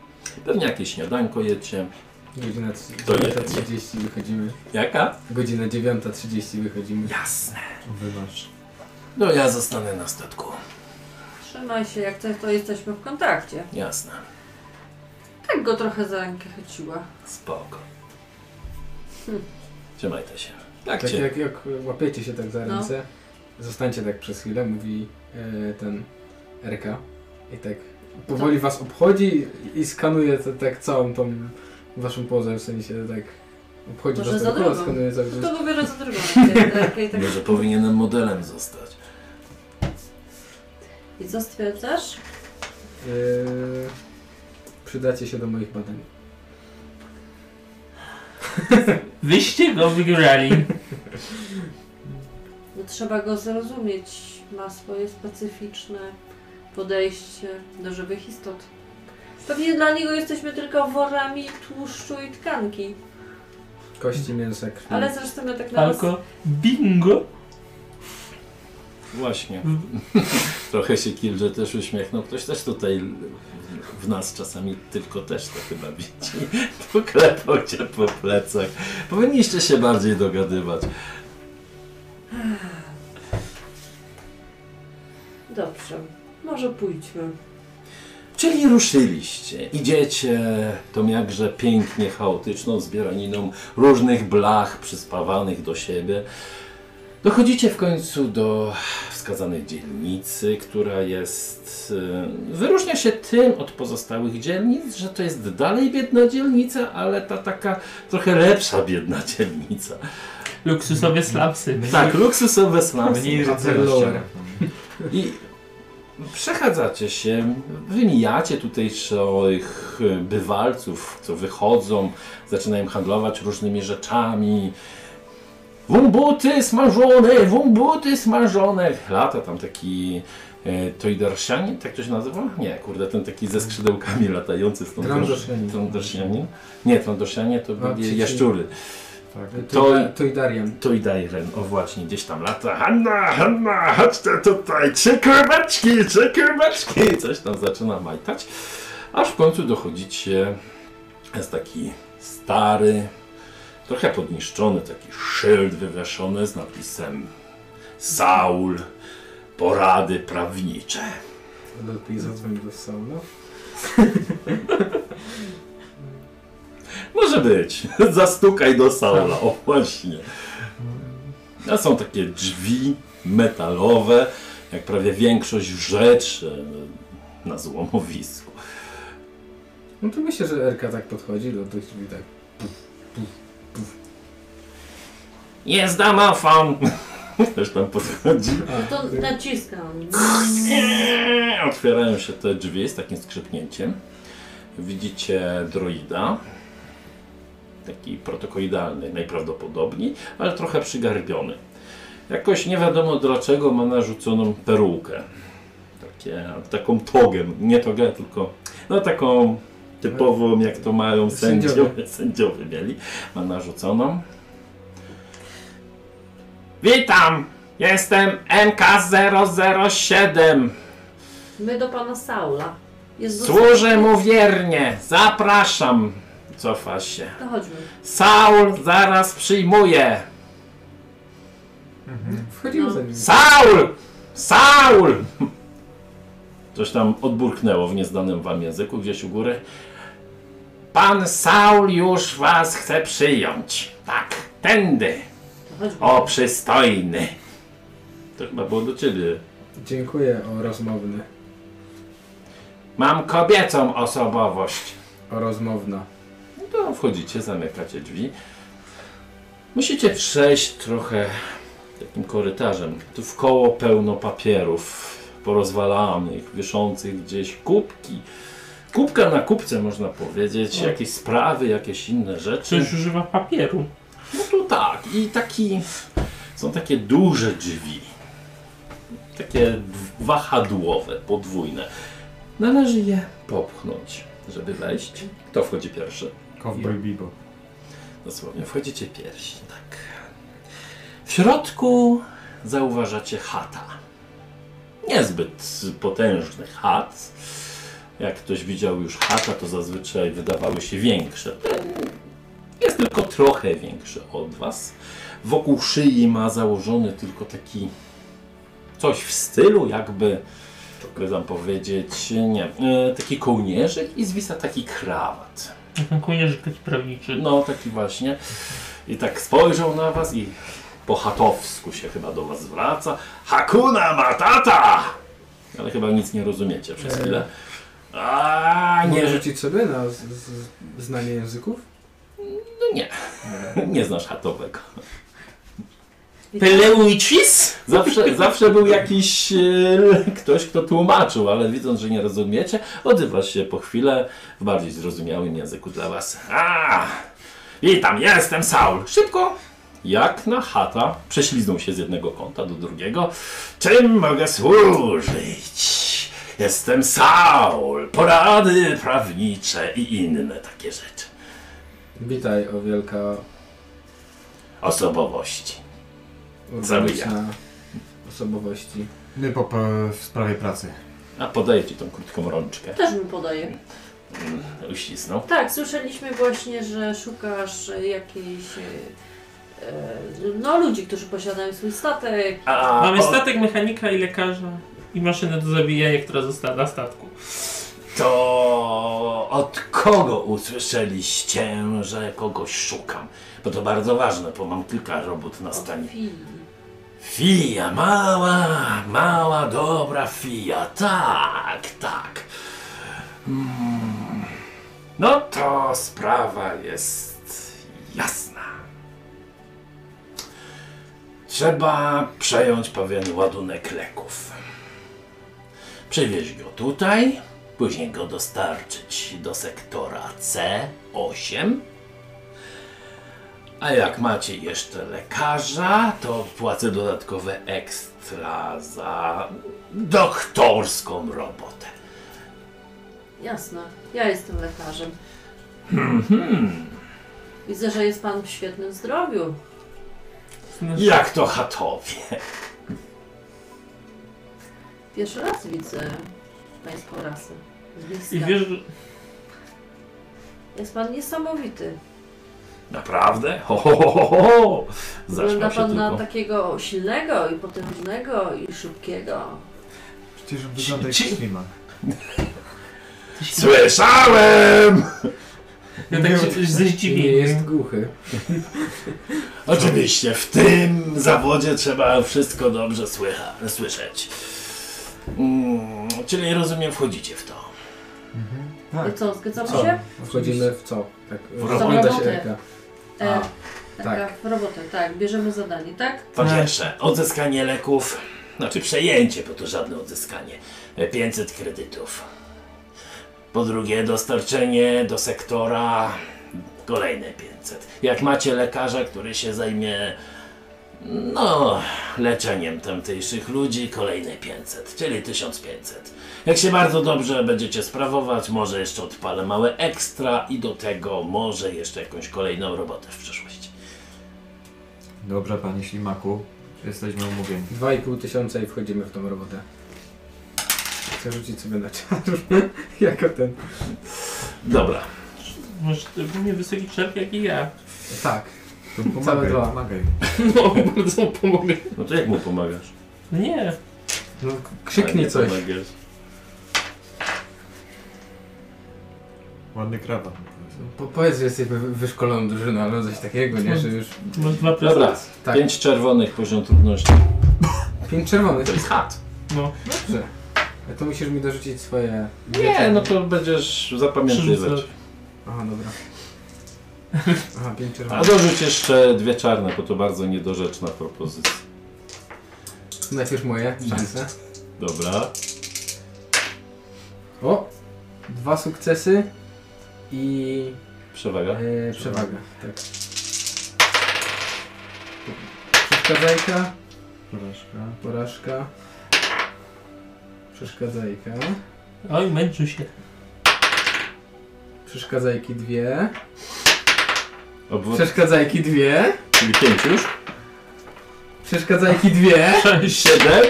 Speaker 1: Pewnie jakieś śniadanko jecie.
Speaker 3: Godzina
Speaker 1: To nie.
Speaker 3: 9.30 wychodzimy.
Speaker 1: Jaka?
Speaker 3: Godzina 9.30 wychodzimy.
Speaker 1: Jasne.
Speaker 4: Wymasz.
Speaker 1: No ja zostanę na statku.
Speaker 2: Trzymaj się, jak chcesz, to jesteśmy w kontakcie.
Speaker 1: Jasne.
Speaker 2: Tak go trochę za rękę chyciła.
Speaker 1: Spoko.
Speaker 2: Hmm.
Speaker 1: Trzymajcie się. Tak,
Speaker 3: Tak
Speaker 1: cię.
Speaker 3: jak, jak łapiecie się tak za
Speaker 2: No.
Speaker 3: ręce, zostańcie tak przez chwilę, mówi e, ten RK i tak powoli was obchodzi i, i skanuje te, tak całą tą waszą pozę, w sensie tak obchodzi
Speaker 2: Może
Speaker 3: was
Speaker 2: za
Speaker 3: dookoła,
Speaker 2: drugą.
Speaker 3: skanuje za
Speaker 2: No to pobiorę za drugą. rękę i tak-
Speaker 1: Może powinienem modelem zostać.
Speaker 2: I co stwierdzasz?
Speaker 3: e, Przydacie się do moich badań.
Speaker 5: Wyście go wygrali.
Speaker 2: No, trzeba go zrozumieć. Ma swoje specyficzne podejście do żywych istot. Pewnie dla niego jesteśmy tylko worami tłuszczu i tkanki.
Speaker 3: Kości, mięsa, krwi.
Speaker 2: Ale zresztą ja tak na was...
Speaker 5: Alko bingo.
Speaker 1: Właśnie. Trochę się Kilże też uśmiechnął. Ktoś też tutaj w nas czasami tylko też to chyba widzi. Poklepał cię po plecach. Powinniście się bardziej dogadywać.
Speaker 2: Dobrze. Może pójdźmy.
Speaker 1: Czyli ruszyliście. Idziecie tą jakże pięknie chaotyczną zbieraniną różnych blach przyspawanych do siebie. Dochodzicie w końcu do wskazanej dzielnicy, która jest. e, Wyróżnia się tym od pozostałych dzielnic, że to jest dalej biedna dzielnica, ale ta taka trochę lepsza biedna dzielnica.
Speaker 5: Luksusowe slapsy.
Speaker 1: Tak, luksusowe slumsy.
Speaker 4: Mniej
Speaker 3: Lower.
Speaker 4: rycerza.
Speaker 1: I przechadzacie się, wymijacie tutejszych e, bywalców, co wychodzą, zaczynają handlować różnymi rzeczami. Wumbuty smażone, wumbuty smażone. Lata tam taki e, Toidarsianin, tak to się nazywa? Nie, kurde, ten taki ze skrzydełkami latający. stąd-
Speaker 3: Trandoshianin.
Speaker 1: Trandoshianin? Nie, Trandoshianin to byli
Speaker 3: przeciwnie.
Speaker 1: jaszczury.
Speaker 4: Tak.
Speaker 1: To-
Speaker 3: To Idarian.
Speaker 1: To i Dairen, o właśnie, gdzieś tam lata. Hanna, Hanna, chodźcie tutaj, trzy kreweczki, trzy kreweczki. Coś tam zaczyna majtać. Aż w końcu dochodzicie, jest taki stary, trochę podniszczony, taki szyld wywieszony z napisem Saul, porady prawnicze.
Speaker 3: Lepiej zadzwoń do Saula.
Speaker 1: Może być, zastukaj do Saula, o właśnie. A są takie drzwi metalowe, jak prawie większość rzeczy e, na złomowisku.
Speaker 3: No to myślę, że RK tak podchodzi do tych drzwi tak.
Speaker 1: Jest damafon! Też tam podchodzi.
Speaker 2: No to naciskam.
Speaker 1: Otwierają się te drzwi z takim skrzypnięciem. Widzicie droida. Taki protokoidalny najprawdopodobniej, ale trochę przygarbiony. Jakoś nie wiadomo dlaczego ma narzuconą perukę. Takie, taką togę. Nie togę, tylko no taką typową, jak to mają sędziowie,
Speaker 3: Sędziowie.
Speaker 1: sędziowie mieli. Ma narzuconą. Witam! Jestem MK007.
Speaker 2: My do pana Saula. Jest
Speaker 1: Służę mu wiernie, zapraszam. Cofa się.
Speaker 2: To chodźmy.
Speaker 1: Saul zaraz przyjmuje.
Speaker 3: Wchodzimy
Speaker 2: No.
Speaker 3: za nim.
Speaker 1: Saul! Saul! Coś tam odburknęło w nieznanym wam języku gdzieś u góry. Pan Saul już was chce przyjąć. Tak, tędy.
Speaker 2: To chodźmy.
Speaker 1: O, przystojny. To chyba było do ciebie.
Speaker 3: Dziękuję o rozmowny.
Speaker 1: Mam kobiecą osobowość.
Speaker 3: O rozmowna.
Speaker 1: No wchodzicie, zamykacie drzwi. Musicie przejść trochę takim korytarzem. Tu w koło pełno papierów porozwalanych, wiszących gdzieś kubki. Kubka na kubce można powiedzieć,
Speaker 5: No.
Speaker 1: jakieś sprawy, jakieś inne rzeczy.
Speaker 5: Przecież używa papieru.
Speaker 1: No to tak, i taki są takie duże drzwi. Takie w- wahadłowe, podwójne. Należy je popchnąć, żeby wejść. Kto wchodzi pierwszy?
Speaker 4: Cowboy Bebop.
Speaker 1: Dosłownie, wchodzicie piersi, tak. W środku zauważacie chata. Niezbyt potężny chat. Jak ktoś widział już chata, to zazwyczaj wydawały się większe. Ten Jest tylko trochę większy od was. Wokół szyi ma założony tylko taki coś w stylu, jakby, jakby tam powiedzieć, nie, e, taki kołnierzyk i zwisa taki krawat.
Speaker 5: Ten kołnierzyk taki prawniczy.
Speaker 1: No, taki No, właśnie. I tak spojrzał na was i po chatowsku się chyba do was zwraca. Hakuna Matata! Ale chyba nic nie rozumiecie przez
Speaker 3: Eee.
Speaker 1: chwilę. A nie,
Speaker 3: Mogę
Speaker 1: że
Speaker 3: rzucić sobie na z, z, znanie języków?
Speaker 1: nie znasz chatowego.
Speaker 5: Peleuicis?
Speaker 1: Zawsze, zawsze był jakiś e, ktoś, kto tłumaczył, ale widząc, że nie rozumiecie, odzywasz się po chwilę w bardziej zrozumiałym języku dla was. A, witam, jestem Saul. Szybko! Jak na chata prześliznął się z jednego kąta do drugiego. Czym mogę służyć? Jestem Saul. Porady prawnicze i inne takie rzeczy.
Speaker 3: Witaj, o wielka
Speaker 1: Osobowości.
Speaker 3: urbaniczna osobowości.
Speaker 4: My po, po, w sprawie pracy.
Speaker 1: A podaję ci tą krótką rączkę.
Speaker 2: Też mi podaje.
Speaker 1: Mm, Uścisnął.
Speaker 2: Tak, słyszeliśmy właśnie, że szukasz e, jakiejś. e, e, No, ludzi, którzy posiadają swój statek.
Speaker 1: A,
Speaker 5: Mamy
Speaker 1: o-
Speaker 5: statek mechanika i lekarza i maszynę do zabijania, która została na statku.
Speaker 1: To od kogo usłyszeliście, że kogoś szukam? Bo to bardzo ważne, bo mam kilka robót na stanie.
Speaker 2: Filip.
Speaker 1: Fija, mała, mała, dobra fija. Tak, tak. Mm. No to sprawa jest jasna. Trzeba przejąć pewien ładunek leków. Przywieźć go tutaj, później go dostarczyć do sektora C8. A jak macie jeszcze lekarza, to płacę dodatkowe ekstra za doktorską robotę.
Speaker 2: Jasne, ja jestem lekarzem.
Speaker 1: Mhm.
Speaker 2: Widzę, że jest pan w świetnym zdrowiu.
Speaker 5: Znaczy,
Speaker 1: Jak to chatowie?
Speaker 2: Pierwszy raz widzę pańską rasę. z bliska.
Speaker 5: I wiesz, że-
Speaker 2: Jest pan niesamowity.
Speaker 1: Naprawdę? Ho, ho, ho, ho, ho.
Speaker 2: Wygląda
Speaker 1: Zaśmiał się
Speaker 2: pan na
Speaker 1: tylko.
Speaker 2: takiego silnego i potężnego i szybkiego.
Speaker 4: Przecież on wygląda jak
Speaker 1: Ci- ci-
Speaker 4: ślimak.
Speaker 1: Słyszałem!
Speaker 5: ja tak się ze
Speaker 3: I nie jest
Speaker 5: zdziwieniem.
Speaker 3: głuchy.
Speaker 1: Oczywiście, w tym zawodzie trzeba wszystko dobrze słycha, słyszeć. Mm, czyli rozumiem, wchodzicie w to.
Speaker 4: Mhm.
Speaker 2: I
Speaker 4: Tak.
Speaker 2: co, zgadzamy
Speaker 3: Co?
Speaker 2: się?
Speaker 3: Wchodzimy w co? Tak,
Speaker 1: W
Speaker 3: rozgląda
Speaker 2: robotę.
Speaker 3: się Erka.
Speaker 2: E,
Speaker 3: A,
Speaker 2: taka
Speaker 3: tak.
Speaker 2: w robotę, tak, bierzemy zadanie, tak?
Speaker 1: Po
Speaker 4: Tak.
Speaker 1: pierwsze, odzyskanie leków, znaczy przejęcie, bo to żadne odzyskanie, e, 500 kredytów. Po drugie, dostarczenie do sektora kolejne 500. Jak macie lekarza, który się zajmie no, leczeniem tamtejszych ludzi, kolejne 500, czyli 1500. Jak się bardzo dobrze będziecie sprawować, może jeszcze odpalę małe ekstra i do tego może jeszcze jakąś kolejną robotę w przyszłości.
Speaker 4: Dobrze, panie ślimaku. Jesteśmy umówieni.
Speaker 3: 2,5 tysiąca i wchodzimy w tą robotę. Chcę rzucić sobie na czar. jako ten.
Speaker 1: Dobra.
Speaker 5: Masz równie wysoki czerp jak i ja.
Speaker 3: Tak.
Speaker 4: To
Speaker 3: Całe
Speaker 4: pomagaj,
Speaker 3: dwa.
Speaker 4: pomagaj.
Speaker 5: No, bardzo pomogę.
Speaker 1: No to jak mu pomagasz?
Speaker 5: Nie.
Speaker 3: No, krzyknij
Speaker 1: Nie
Speaker 3: coś.
Speaker 1: pomagasz.
Speaker 4: Ładny krawat.
Speaker 3: Po, powiedz, że jesteś wy- wyszkoloną drużyną, albo no coś takiego, nie? Że już...
Speaker 5: Masz dwa plus.
Speaker 1: Dobra,
Speaker 3: Tak.
Speaker 1: pięć czerwonych poziom trudności.
Speaker 3: Pięć czerwonych.
Speaker 1: To jest hat.
Speaker 5: No.
Speaker 3: Dobrze. A to musisz mi dorzucić swoje...
Speaker 1: Nie, no to będziesz zapamiętywać.
Speaker 5: Przerzucę.
Speaker 3: Aha, dobra. Aha, pięć
Speaker 1: A
Speaker 3: czerwonych.
Speaker 1: dorzuć jeszcze dwie czarne, bo to bardzo niedorzeczna propozycja.
Speaker 3: Najpierw moje szanse.
Speaker 1: Dobra.
Speaker 3: O! Dwa sukcesy i
Speaker 1: Przewaga.
Speaker 3: e, przewaga. Tak. Przeszkadzajka,
Speaker 4: Porażka.
Speaker 3: porażka. Przeszkadzajka.
Speaker 5: Oj, męczył się.
Speaker 3: Przeszkadzajki dwie.
Speaker 1: Obwod...
Speaker 3: Przeszkadzajki dwie.
Speaker 1: Czyli pięć już?
Speaker 3: Przeszkadzajki dwie.
Speaker 5: Cześć.
Speaker 1: Siedem?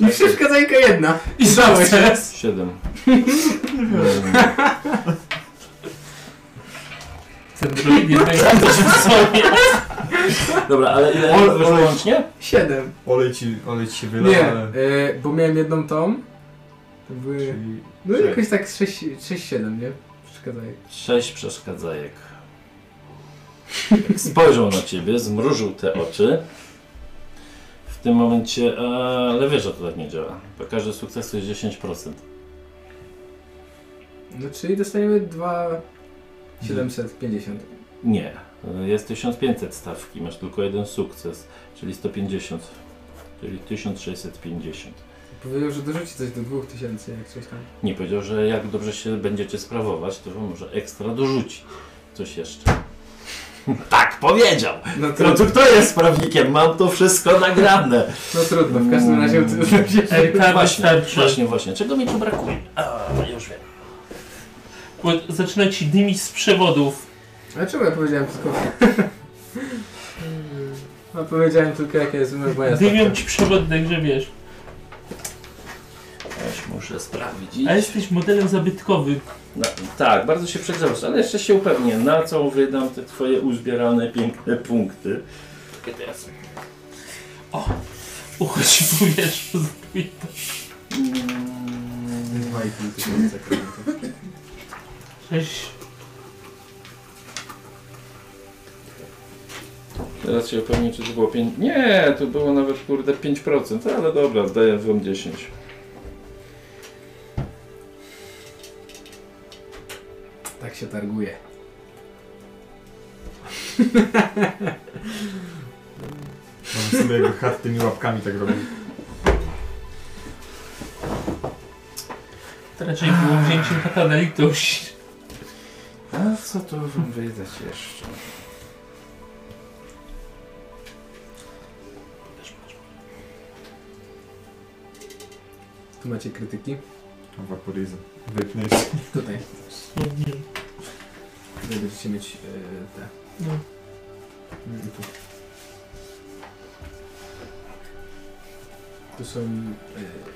Speaker 1: Tak
Speaker 3: I przeszkadzajka jedna.
Speaker 5: I
Speaker 3: Zdałeś.
Speaker 5: sukces.
Speaker 1: Siedem. Mm,
Speaker 5: Ten drugi nie będzie w sobie.
Speaker 1: Dobra, ale ile
Speaker 4: Ol-
Speaker 1: wyszło
Speaker 4: olej.
Speaker 1: łącznie?
Speaker 3: Siedem.
Speaker 4: Olej ci, olej ci się wyla,
Speaker 3: Nie,
Speaker 4: ale...
Speaker 3: e, bo miałem jedną tą. To były...
Speaker 4: Czyli...
Speaker 3: No
Speaker 4: Sześć.
Speaker 3: jakoś tak 6-7, nie? Przeszkadzajek.
Speaker 1: Sześć przeszkadzajek. Spojrzał na ciebie, zmrużył te oczy. W tym momencie, e, ale wiesz, że to tak nie działa. Bo każdy sukces to jest 10%.
Speaker 3: No czyli dostaniemy 2,750.
Speaker 1: Nie, E, jest 1500 stawki, masz tylko jeden sukces, czyli 150, czyli 1650.
Speaker 3: Powiedział, że dorzuci coś do 2000, jak coś tam.
Speaker 1: Nie powiedział, że jak dobrze się będziecie sprawować, to wam może ekstra dorzuci coś jeszcze. tak powiedział!
Speaker 3: No,
Speaker 1: No
Speaker 3: trudno,
Speaker 1: to kto jest prawnikiem? Mam to wszystko nagrane.
Speaker 3: no trudno, w każdym razie
Speaker 1: Mm.
Speaker 5: Ej, tak
Speaker 1: Właśnie,
Speaker 5: wystarczy.
Speaker 1: właśnie, właśnie. Czego mi tu brakuje? A, już wiem.
Speaker 5: Bo zaczyna ci dymić z przewodów.
Speaker 3: A czemu ja powiedziałem tylko... No powiedziałem tylko jaka jest moja
Speaker 5: Dymią
Speaker 3: stawka.
Speaker 5: ci przewody, także wiesz.
Speaker 1: Coś muszę sprawdzić.
Speaker 5: A jesteś modelem zabytkowym.
Speaker 1: No, tak, bardzo się przegrzewasz, ale jeszcze się upewnię, na co wydam te twoje uzbierane piękne punkty. Takie teraz.
Speaker 5: Uchodź w powietrzu.
Speaker 1: Mm,
Speaker 4: 2,5 tysiąca klientów.
Speaker 5: Cześć.
Speaker 1: Teraz się upewnię, czy to było 5. Nie, to było nawet kurde 5%, ale dobra, daję wam 10.
Speaker 3: Tak się targuje.
Speaker 4: Mam sobie jego hat tymi łapkami tak robił.
Speaker 5: To raczej było wzięciem kata na litość.
Speaker 1: A co tu wam wydać jeszcze?
Speaker 3: Tu macie krytyki.
Speaker 4: Waporizm. Wypniesz.
Speaker 3: Tutaj.
Speaker 5: No, nie.
Speaker 3: Tutaj będziecie mieć e, te...
Speaker 5: No.
Speaker 3: Mm, Tu. tu są e,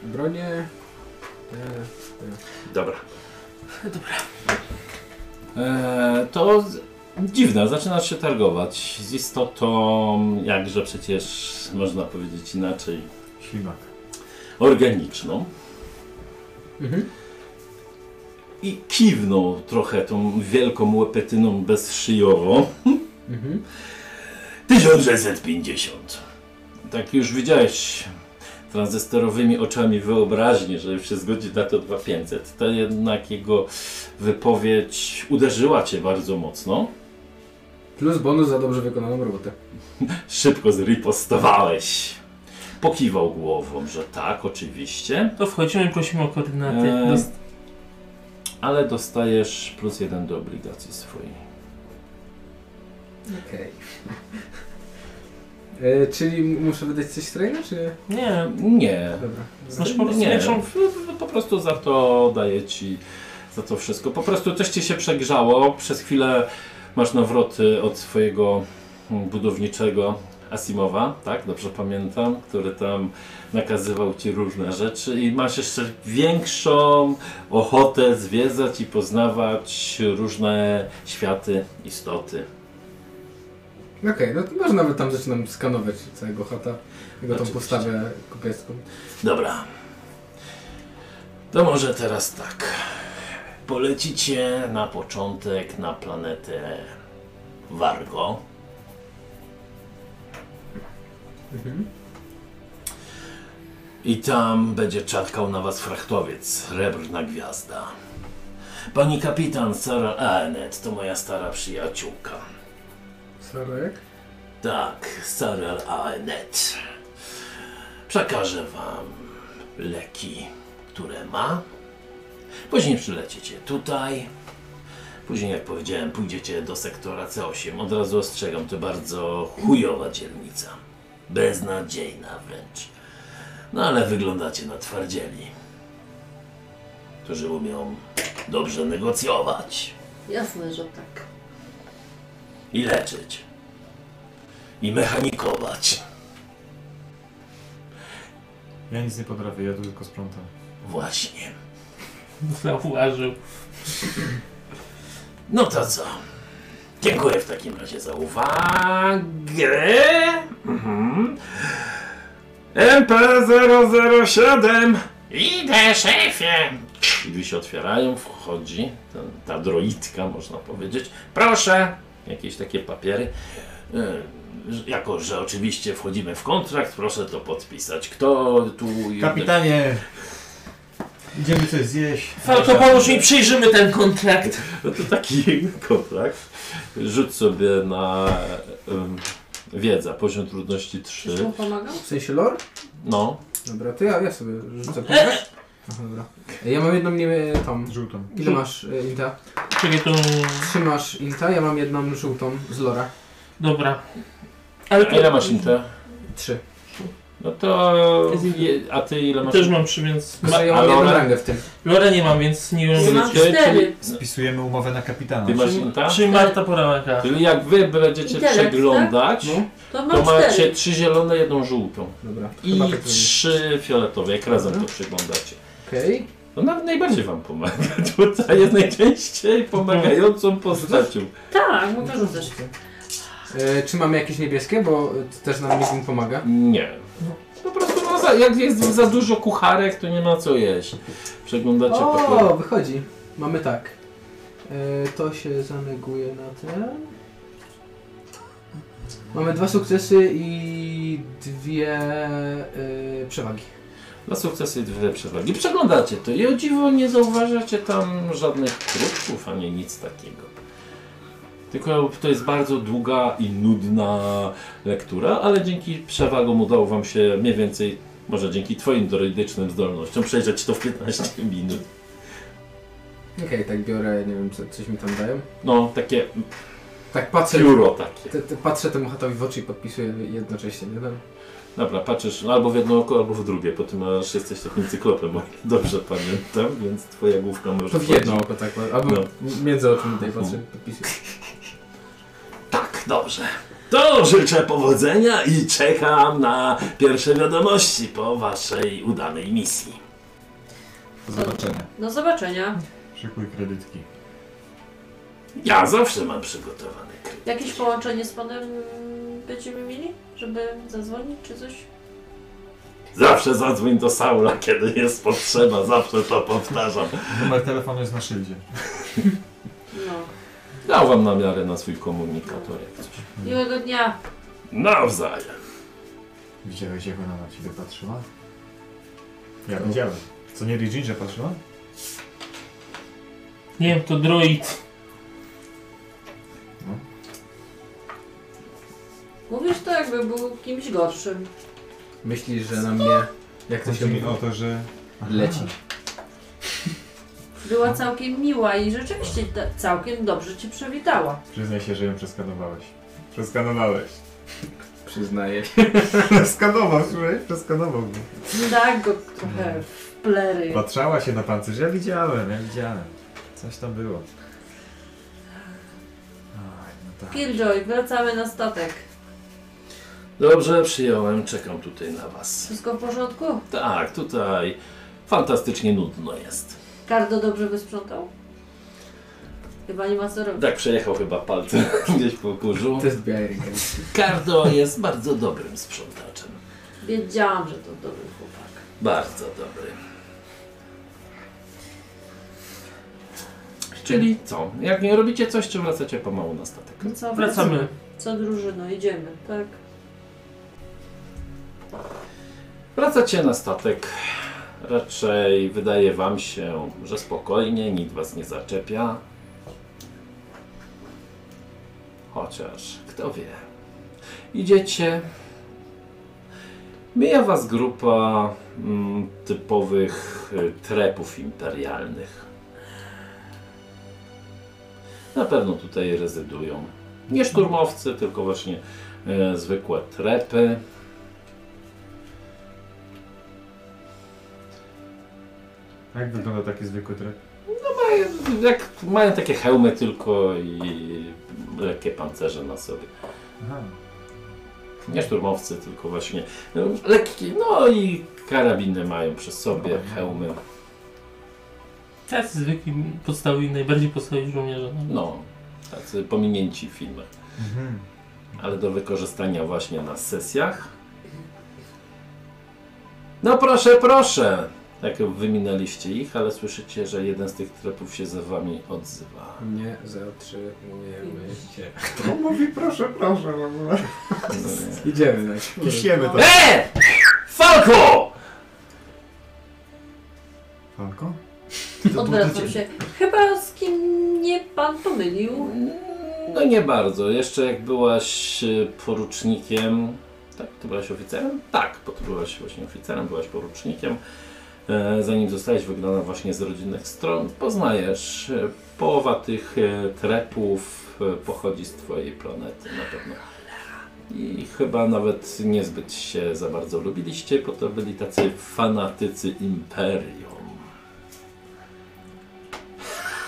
Speaker 3: bronie. E, Te,
Speaker 1: Dobra. Dobra. Eee, to z- dziwne, zaczynasz się targować z istotą, jakże przecież można powiedzieć inaczej,
Speaker 4: Ślimak.
Speaker 1: organiczną.
Speaker 3: mhm.
Speaker 1: I kiwnął trochę tą wielką łepetyną bezszyjową.
Speaker 3: Mhm.
Speaker 1: 1650. Tak już widziałeś tranzystorowymi oczami wyobraźni, że już się zgodzi na to 2500. Ta jednak jego wypowiedź uderzyła cię bardzo mocno.
Speaker 3: Plus bonus za dobrze wykonaną robotę.
Speaker 1: Szybko zripostowałeś. Pokiwał głową, że tak, oczywiście.
Speaker 5: To wchodzimy i prosimy o koordynaty.
Speaker 1: Eee.
Speaker 5: Dost-
Speaker 1: Ale dostajesz plus jeden do obligacji swojej.
Speaker 3: Okej. E, czyli muszę wydać coś strajna, czy...
Speaker 5: Nie,
Speaker 1: Nie,
Speaker 3: Dobra.
Speaker 5: Znaczy po prostu
Speaker 1: nie,
Speaker 5: większą-
Speaker 1: po prostu za to daję ci za to wszystko. Po prostu coś ci się przegrzało. Przez chwilę masz nawroty od swojego mm, budowniczego Asimowa, tak? Dobrze pamiętam, który tam nakazywał ci różne rzeczy i masz jeszcze większą ochotę zwiedzać i poznawać różne światy, istoty.
Speaker 3: Okej, no to może nawet tam zaczynam skanować całego chata, jego tą
Speaker 1: Oczywiście.
Speaker 3: postawę kupiecką.
Speaker 1: Dobra. To może teraz tak. Polecicie na początek na planetę Wargo.
Speaker 3: Mhm.
Speaker 1: I tam będzie czekał na was frachtowiec, srebrna gwiazda. Pani kapitan Sara Arnett to moja stara przyjaciółka.
Speaker 3: Sarek?
Speaker 1: Tak, Sara Arnett. E Przekażę wam leki, które ma. Później przylecicie tutaj. Później, jak powiedziałem, pójdziecie do sektora C8. Od razu ostrzegam, to bardzo chujowa dzielnica. Beznadziejna wręcz. No ale wyglądacie na twardzieli, którzy umią dobrze negocjować
Speaker 2: Jasne, że tak.
Speaker 1: i leczyć. I mechanikować.
Speaker 4: Ja nic nie potrafię, ja tu tylko sprzątam.
Speaker 1: Właśnie.
Speaker 5: zauważył.
Speaker 1: No to co? Dziękuję w takim razie za uwagę. Mhm. MP007 Idę szefie! Drzwi się otwierają, wchodzi ten, ta droidka, można powiedzieć. Proszę, jakieś takie papiery. E, że- Jako, że oczywiście wchodzimy w kontrakt, proszę to podpisać. Kto tu...
Speaker 4: Kapitanie! Idziemy coś zjeść.
Speaker 5: Fal, to pomóż mi, przyjrzymy ten kontrakt.
Speaker 1: No to taki kontrakt. Rzuć sobie na em, wiedza, poziom trudności
Speaker 2: Czyż
Speaker 1: 3.
Speaker 2: mu pomagał?
Speaker 3: W sensie lore?
Speaker 1: No,
Speaker 3: Dobra, to ja, ja sobie rzucę punkt. Aha, dobra. Ja mam jedną nie tą.
Speaker 4: Żółtą.
Speaker 3: Ile masz e, inta?
Speaker 5: Czekaj, to...
Speaker 3: Trzy masz inta, ja mam jedną żółtą z lora.
Speaker 5: Dobra. Ale
Speaker 1: A
Speaker 5: to...
Speaker 1: ile masz inte?
Speaker 3: Trzy.
Speaker 1: No to... je- A ty ile masz?
Speaker 5: Też mam trzy, więc...
Speaker 3: Tylko, że ja
Speaker 1: a
Speaker 3: mam jedną
Speaker 1: lore?
Speaker 3: rangę w tym.
Speaker 5: Lore nie mam, więc nie
Speaker 2: Ja
Speaker 5: wiem...
Speaker 2: mam
Speaker 1: Czyli-
Speaker 2: cztery.
Speaker 4: Spisujemy umowę na kapitana.
Speaker 1: Ty masz inta?
Speaker 5: Czyli Marta Poramaka.
Speaker 1: Czyli jak wy będziecie
Speaker 2: Intelekt, tak?
Speaker 1: przeglądać,
Speaker 3: No.
Speaker 2: To
Speaker 1: to
Speaker 2: mam
Speaker 1: macie
Speaker 2: cztery.
Speaker 1: trzy zielone, jedną żółtą.
Speaker 3: Dobra.
Speaker 1: I
Speaker 3: chyba tak powinien.
Speaker 1: trzy fioletowe, jak razem to
Speaker 3: Mhm.
Speaker 1: przeglądacie.
Speaker 3: Okej.
Speaker 1: No nawet najbardziej wam pomaga. Tutaj jest najczęściej pomagającą postacią.
Speaker 2: Tak, no to rzucasz.
Speaker 3: E, czy mamy jakieś niebieskie, bo e, to też nam Mizin pomaga.
Speaker 1: Nie. Po prostu no, za, jak jest za dużo kucharek, to nie ma co jeść. Przeglądacie papiery.
Speaker 3: O, wychodzi. Mamy tak. E, to się zaneguje na ten. Mamy dwa sukcesy i dwie e, przewagi.
Speaker 1: Na sukcesy dwie przewagi. Przeglądacie to i o dziwo nie zauważacie tam żadnych kruczków, ani nic takiego. Tylko to jest bardzo długa i nudna lektura, ale dzięki przewagom udało wam się mniej więcej, może dzięki twoim droidycznym zdolnościom, przejrzeć to w 15 minut.
Speaker 3: Okej, tak biorę, nie wiem, co, coś mi tam dają.
Speaker 1: No, takie
Speaker 3: Tak patrzę,
Speaker 1: pióro takie.
Speaker 3: te, te, patrzę temu chatowi w oczy i podpisuję jednocześnie, nie wiem.
Speaker 1: Dobra, patrzysz no albo w jedno oko, albo w drugie, po tym aż jesteś takim cyklopem, o ile dobrze pamiętam, więc twoja główka może...
Speaker 3: To w jedno oko tak, albo
Speaker 1: No.
Speaker 3: między oczami tutaj
Speaker 4: No.
Speaker 3: patrzę, podpisuję.
Speaker 1: Tak, dobrze. To życzę powodzenia i czekam na pierwsze wiadomości po waszej udanej misji.
Speaker 4: Do zobaczenia.
Speaker 2: Do zobaczenia.
Speaker 4: Szykuj kredytki.
Speaker 1: Ja zawsze mam przygotowany kryt.
Speaker 2: Jakieś połączenie z panem będziemy mieli? Żeby zadzwonić czy coś?
Speaker 1: Zawsze zadzwoń do Saula, kiedy jest potrzeba, zawsze to powtarzam.
Speaker 4: Numer telefonu jest na szyldzie.
Speaker 2: No.
Speaker 1: Dał wam na miarę na swój komunikator jak coś.
Speaker 2: Miłego dnia.
Speaker 1: Nawzajem.
Speaker 4: Widziałeś jak ona na ciebie patrzyła? Ja widziałem. Co nie Regine, że patrzyła?
Speaker 5: Nie wiem, to droid.
Speaker 2: Mówisz to jakby był kimś gorszym.
Speaker 3: Myślisz, że na mnie, jak to
Speaker 4: Chodzi
Speaker 3: się
Speaker 4: mi
Speaker 3: mówi,
Speaker 4: o to, że...
Speaker 3: leci.
Speaker 2: Była całkiem miła i rzeczywiście da- całkiem dobrze cię przywitała.
Speaker 4: Przyznaj się, że ją przeskanowałeś. Przeskanowałeś.
Speaker 3: Przyznaję.
Speaker 4: Skanował, słuchaj, przeskanował mnie.
Speaker 2: Tak go trochę w plery.
Speaker 4: Patrzała się na pancerz, ja widziałem, ja widziałem. Coś tam było. Aj, no tak.
Speaker 2: Killjoy, wracamy na statek.
Speaker 1: Dobrze, przyjąłem, czekam tutaj na was.
Speaker 2: Wszystko w porządku?
Speaker 1: Tak, tutaj fantastycznie nudno jest.
Speaker 2: Kardo dobrze wysprzątał? Chyba nie ma co robić.
Speaker 1: Tak przejechał chyba palcem gdzieś po kurzu.
Speaker 3: To jest Biarygan.
Speaker 1: Kardo jest bardzo dobrym sprzątaczem.
Speaker 2: Wiedziałam, że to dobry chłopak.
Speaker 1: Bardzo dobry. Czyli co? Jak nie robicie coś, czy wracacie pomału na statek?
Speaker 2: No co,
Speaker 5: Wracamy.
Speaker 2: Co drużyno, idziemy, tak?
Speaker 1: Wracacie na statek. Raczej wydaje wam się, że spokojnie, nikt was nie zaczepia. Chociaż, kto wie. Idziecie. Mija was grupa mm, typowych y, trepów imperialnych. Na pewno tutaj rezydują. Nie szturmowcy, tylko właśnie e, zwykłe trepy.
Speaker 4: Jak wygląda taki zwykły tryb?
Speaker 1: Jak mają takie hełmy tylko i lekkie pancerze na sobie.
Speaker 4: Aha.
Speaker 1: Nie szturmowcy, tylko właśnie no, lekkie. No i karabiny mają przy sobie, hełmy.
Speaker 5: Tacy zwykli, podstawowi, najbardziej podstawowi żołnierze.
Speaker 1: No, tacy pominięci w filmach.
Speaker 4: Mhm.
Speaker 1: Ale do wykorzystania właśnie na sesjach. No proszę, proszę. Tak, wyminęliście ich, ale słyszycie, że jeden z tych trepów się za wami odzywa.
Speaker 3: Nie zatrzymujemy się.
Speaker 4: On No mówi proszę, proszę w ogóle.
Speaker 3: Idziemy na siłę.
Speaker 4: Kiśniemy to.
Speaker 1: E! Falko!
Speaker 4: Falko?
Speaker 2: Odwracam się. Chyba z kim nie pan pomylił.
Speaker 1: No nie bardzo. Jeszcze jak byłaś e, porucznikiem. Tak, ty byłaś oficerem? Tak, bo ty byłaś właśnie oficerem, byłaś porucznikiem. E, Zanim zostałeś wygnana właśnie z rodzinnych stron, poznajesz. e, Połowa tych e, trepów e, pochodzi z twojej planety na pewno. I chyba nawet niezbyt się za bardzo lubiliście, bo to byli tacy fanatycy Imperium.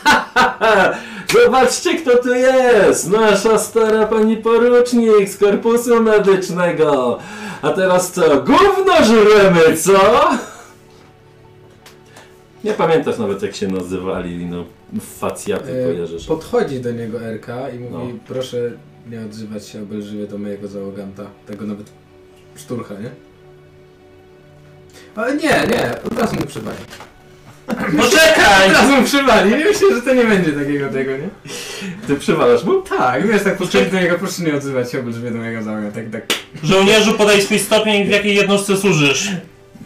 Speaker 1: Zobaczcie, kto tu jest! Nasza stara pani porucznik z korpusu medycznego! A teraz co? Gówno żremy, co? Nie pamiętasz nawet jak się nazywali, no facjaty
Speaker 3: E,
Speaker 1: kojarzysz.
Speaker 3: Podchodzi do niego RK i mówi,
Speaker 1: No.
Speaker 3: proszę nie odzywać się obelżywie do mojego załoganta. Tego nawet szturcha, nie? Ale nie, nie, od razu mu przywali.
Speaker 5: No
Speaker 1: Poczekaj!
Speaker 3: Od razu mu przywali, nie myślę, że to nie będzie takiego tego, nie?
Speaker 1: Ty przywalasz mu?
Speaker 3: Tak, wiesz, tak podchodzi do niego, proszę nie odzywać się obelżywie do mojego załoganta. Tak, tak.
Speaker 5: Żołnierzu, podaj swój stopień, w jakiej jednostce służysz.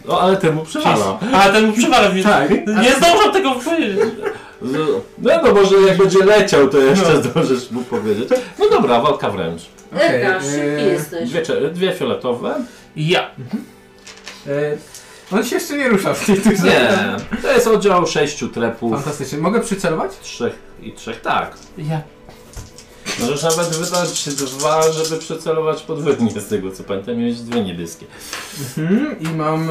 Speaker 1: O, ale temu przywala.
Speaker 5: A ten mu przywala, więc
Speaker 3: Tak.
Speaker 5: nie zdążam tego powiedzieć.
Speaker 1: Z- No, no może jak będzie leciał, to jeszcze zdążysz mu powiedzieć. No dobra, walka wręcz.
Speaker 3: Okej,
Speaker 2: Erka, szybki
Speaker 3: e,
Speaker 2: jesteś.
Speaker 1: Dwie, cze- dwie fioletowe.
Speaker 5: Ja.
Speaker 3: E, on się jeszcze nie rusza w tej turze.
Speaker 1: Nie, to jest oddział sześciu trepów.
Speaker 3: Fantastycznie. Mogę przycelować?
Speaker 1: Trzech i trzech, tak.
Speaker 5: Ja.
Speaker 1: Możesz nawet wydać dwa, żeby przecelować podwójnie z tego co pamiętam, miałeś dwie niebieskie.
Speaker 3: Mhm, i mam...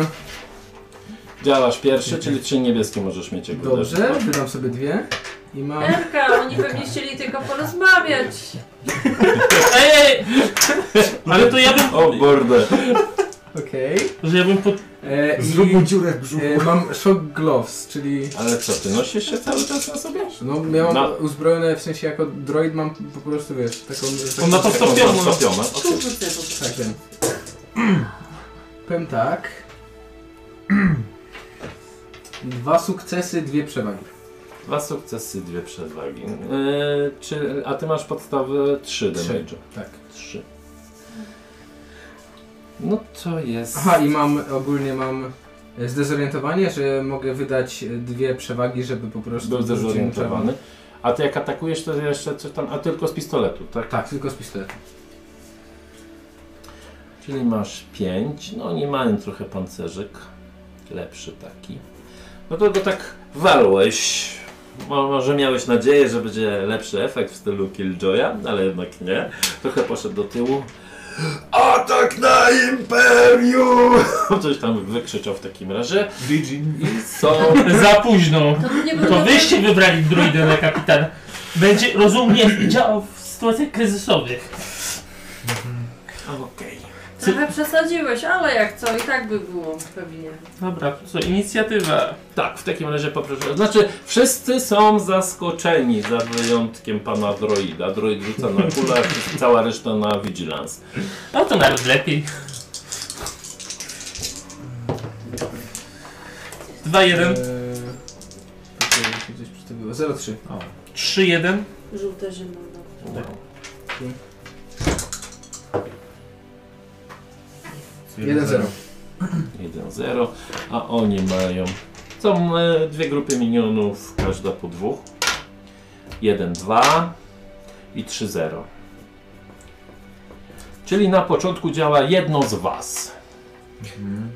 Speaker 1: Działasz pierwszy, czyli trzy niebieskie możesz mieć jak
Speaker 3: Dobrze, E.
Speaker 1: uderzysz.
Speaker 3: wydam sobie dwie. I mam...
Speaker 2: Erka, oni pewnie chcieli tylko porozmawiać.
Speaker 5: Ej, ej! Ale to ja bym...
Speaker 1: O bordę.
Speaker 3: Okej.
Speaker 5: Że ja bym pod...
Speaker 3: E, i-
Speaker 4: Zrób mu dziurę w brzuchu.
Speaker 3: E, mam shock gloves, czyli
Speaker 1: Ale co, ty nosisz się cały czas na sobie?
Speaker 3: no miałem
Speaker 1: No.
Speaker 3: uzbrojone w sensie jako droid mam po prostu wiesz, taką... taką
Speaker 5: On ma to
Speaker 1: Taką
Speaker 5: stopioną.
Speaker 1: zastopione.
Speaker 2: Tu wrzucę po prostu.
Speaker 3: Tak, wiem. Powiem tak. Dwa sukcesy, dwie przewagi.
Speaker 1: Dwa sukcesy, dwie przewagi. Yy, czy, a ty masz podstawę 3
Speaker 3: Trzy.
Speaker 1: damage'a.
Speaker 3: Tak.
Speaker 1: 3. No to jest...
Speaker 3: Aha i mam, ogólnie mam e, zdezorientowanie, że mogę wydać e, dwie przewagi, żeby po prostu...
Speaker 1: Był
Speaker 3: wrócić mu
Speaker 1: zdezorientowany. A ty jak atakujesz, to jeszcze coś tam... A tylko z pistoletu, tak?
Speaker 3: czerwony. Tak, tylko z pistoletu.
Speaker 1: Czyli masz 5, no nie mają trochę pancerzyk, lepszy taki. No to go tak walłeś. Mo- Może miałeś nadzieję, że będzie lepszy efekt w stylu Killjoya, ale jednak nie. Trochę poszedł do tyłu. Atak na Imperium! Coś tam wykrzyczał w takim razie.
Speaker 4: GG.
Speaker 1: I są...
Speaker 5: Za późno.
Speaker 2: To by nie było
Speaker 5: To
Speaker 2: dobre-
Speaker 5: wyście wybrali druidę na kapitana. Będzie rozumnie działał w sytuacjach kryzysowych.
Speaker 1: Okej.
Speaker 2: Trochę przesadziłeś, ale jak co, i tak by było pewnie.
Speaker 5: Dobra, to co, inicjatywa.
Speaker 1: Tak, w takim razie poproszę. Znaczy, wszyscy są zaskoczeni za wyjątkiem pana droida. Droid rzuca na kulach, cała reszta na vigilance.
Speaker 5: No to nawet lepiej. 2-1,
Speaker 3: Eee, poczekaj, mi się coś przystawiło. 0,3.
Speaker 4: O,
Speaker 5: 3-1.
Speaker 2: Żółte zielone.
Speaker 4: jeden
Speaker 3: 1-0.
Speaker 1: 1-0, a oni mają. Są e, dwie grupy minionów, każda po dwóch. 1-2 i 3-0. Czyli na początku działa jedno z was.
Speaker 4: Mhm.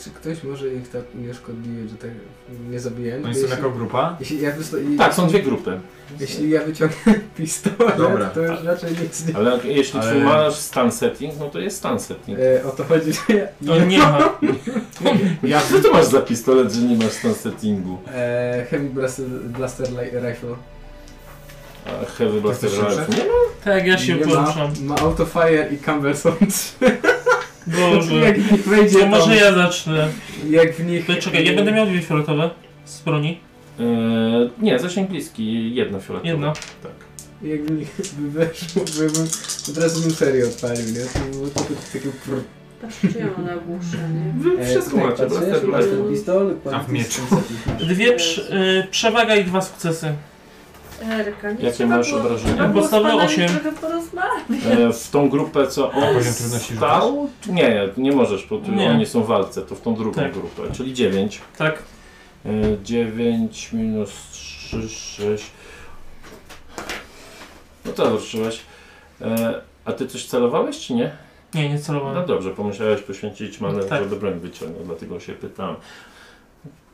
Speaker 3: Czy ktoś może ich tak unieszkodliwie, że tak nie zabije?
Speaker 4: Oni No są jako grupa?
Speaker 3: Jeśli ja, wysto-
Speaker 1: Tak, są dwie grupy.
Speaker 3: jeśli ja wyciągnę pistolet,
Speaker 4: Dobra.
Speaker 3: to już raczej nic nie...
Speaker 1: Ale jeśli
Speaker 4: Ale-
Speaker 1: trzymasz stan setting, no to jest stan setting.
Speaker 3: E, o to chodzi, że ja...
Speaker 5: To nie ma.
Speaker 1: Ja, co ty masz za pistolet, że nie masz stan settingu?
Speaker 3: E, heavy Blaster, blaster li- Rifle.
Speaker 1: A Heavy Blaster
Speaker 4: chcesz
Speaker 1: Rifle?
Speaker 4: szybsze?
Speaker 1: Nie ma?
Speaker 5: Tak, ja się
Speaker 3: Nie
Speaker 5: włączam.
Speaker 3: Ma, ma autofire i cumbersome 3.
Speaker 5: Boże.
Speaker 3: jak w nich wejdzie
Speaker 5: To
Speaker 3: tam,
Speaker 5: może ja zacznę.
Speaker 3: Jak w nich...
Speaker 5: To Czekaj, ja będę miał dwie fioletowe z broni.
Speaker 1: Eee, nie, zasięg bliski, jedno fioletowe.
Speaker 5: Jedno.
Speaker 1: Tak.
Speaker 3: Jak w nich by weszło, bym od razu bym serię odpalił, nie? To by było takie... takie prr.
Speaker 2: Patrzcie, czy ja mam Tak na głusze, nie?
Speaker 3: E,
Speaker 6: Wy wszystko
Speaker 3: tutaj
Speaker 6: macie,
Speaker 3: patrzysz,
Speaker 6: blaster,
Speaker 3: masz
Speaker 6: blaster.
Speaker 3: ten pistol,
Speaker 4: A w mieczu.
Speaker 5: Dwie prz- y, przewaga i dwa sukcesy.
Speaker 2: Erka, nie
Speaker 1: Jakie
Speaker 2: trzeba
Speaker 1: masz
Speaker 2: było-
Speaker 1: obrażenia?
Speaker 2: trzeba było z
Speaker 5: Podstawowe
Speaker 2: panami
Speaker 5: osiem.
Speaker 2: trochę porozmawiać.
Speaker 1: E, w tą grupę, co on
Speaker 4: poziom trudności
Speaker 1: stał? Nie, nie możesz, bo tu
Speaker 5: Nie.
Speaker 1: oni są w walce, to w tą drugą
Speaker 5: Tak.
Speaker 1: grupę, czyli 9.
Speaker 5: Tak.
Speaker 1: 9 minus 3, 6. No to ruszyłeś. E, A ty coś celowałeś, czy nie?
Speaker 5: Nie, nie
Speaker 1: No
Speaker 5: celowałem.
Speaker 1: dobrze, pomyślałeś poświęcić manewr,
Speaker 5: Tak.
Speaker 1: żeby broń wyciągnął, dlatego się pytałem.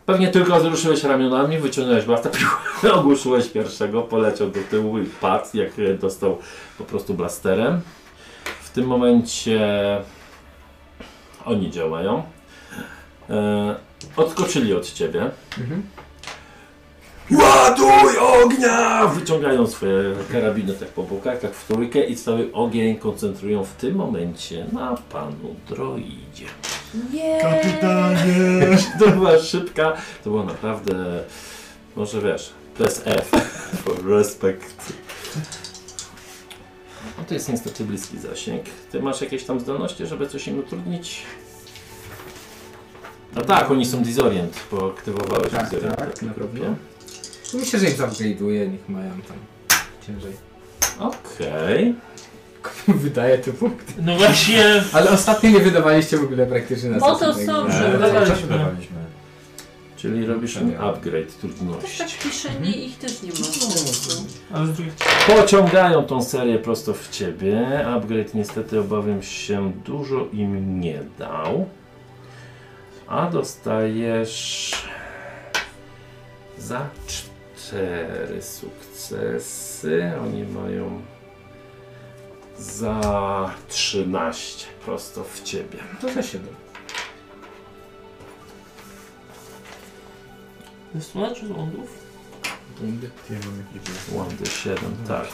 Speaker 1: Pewnie tylko zruszyłeś ramionami, wyciągnąłeś blasta, piu, ogłuszyłeś pierwszego, poleciał do tyłu i padł, jak e, dostał po prostu blasterem. W tym momencie oni działają. E, odskoczyli od ciebie.
Speaker 3: Mhm.
Speaker 1: Ładuj ognia! Wyciągają swoje karabiny tak po bokach, tak w trójkę i cały ogień koncentrują w tym momencie na panu droidzie.
Speaker 2: Nie!
Speaker 1: To była szybka, to było naprawdę, może wiesz, press F, for respect. No to jest niestety bliski zasięg. Ty masz jakieś tam zdolności, żeby coś im utrudnić? No tak, oni są disorient, bo aktywowałeś
Speaker 3: Tak,
Speaker 1: disorient.
Speaker 3: tak, na
Speaker 1: naprawdę.
Speaker 3: pewno. No Myślę, że im upgrade'uję, niech mają tam ciężej.
Speaker 1: Okej.
Speaker 3: Wydaje te punkty.
Speaker 5: No właśnie.
Speaker 3: Ale ostatnio nie wydawaliście w ogóle praktycznie na
Speaker 2: Po to
Speaker 3: stosunek.
Speaker 2: są,
Speaker 4: Dobrze,
Speaker 2: żeby
Speaker 4: eee,
Speaker 5: dawaliśmy.
Speaker 4: coś dawaliśmy.
Speaker 1: Czyli robisz
Speaker 4: Tak.
Speaker 1: upgrade
Speaker 2: Też
Speaker 1: trudności.
Speaker 2: tak pisze, nie, ich też nie ma.
Speaker 5: Ale z drugiej
Speaker 1: Pociągają tą serię prosto w ciebie. Upgrade niestety obawiam się dużo im nie dał. A dostajesz za cztery sukcesy. Oni mają za 13 prosto w ciebie.
Speaker 3: No, To za 7.
Speaker 5: ze strony czy z lądów?
Speaker 4: Ja mam jakieś...
Speaker 1: Łądy 7, tak. E,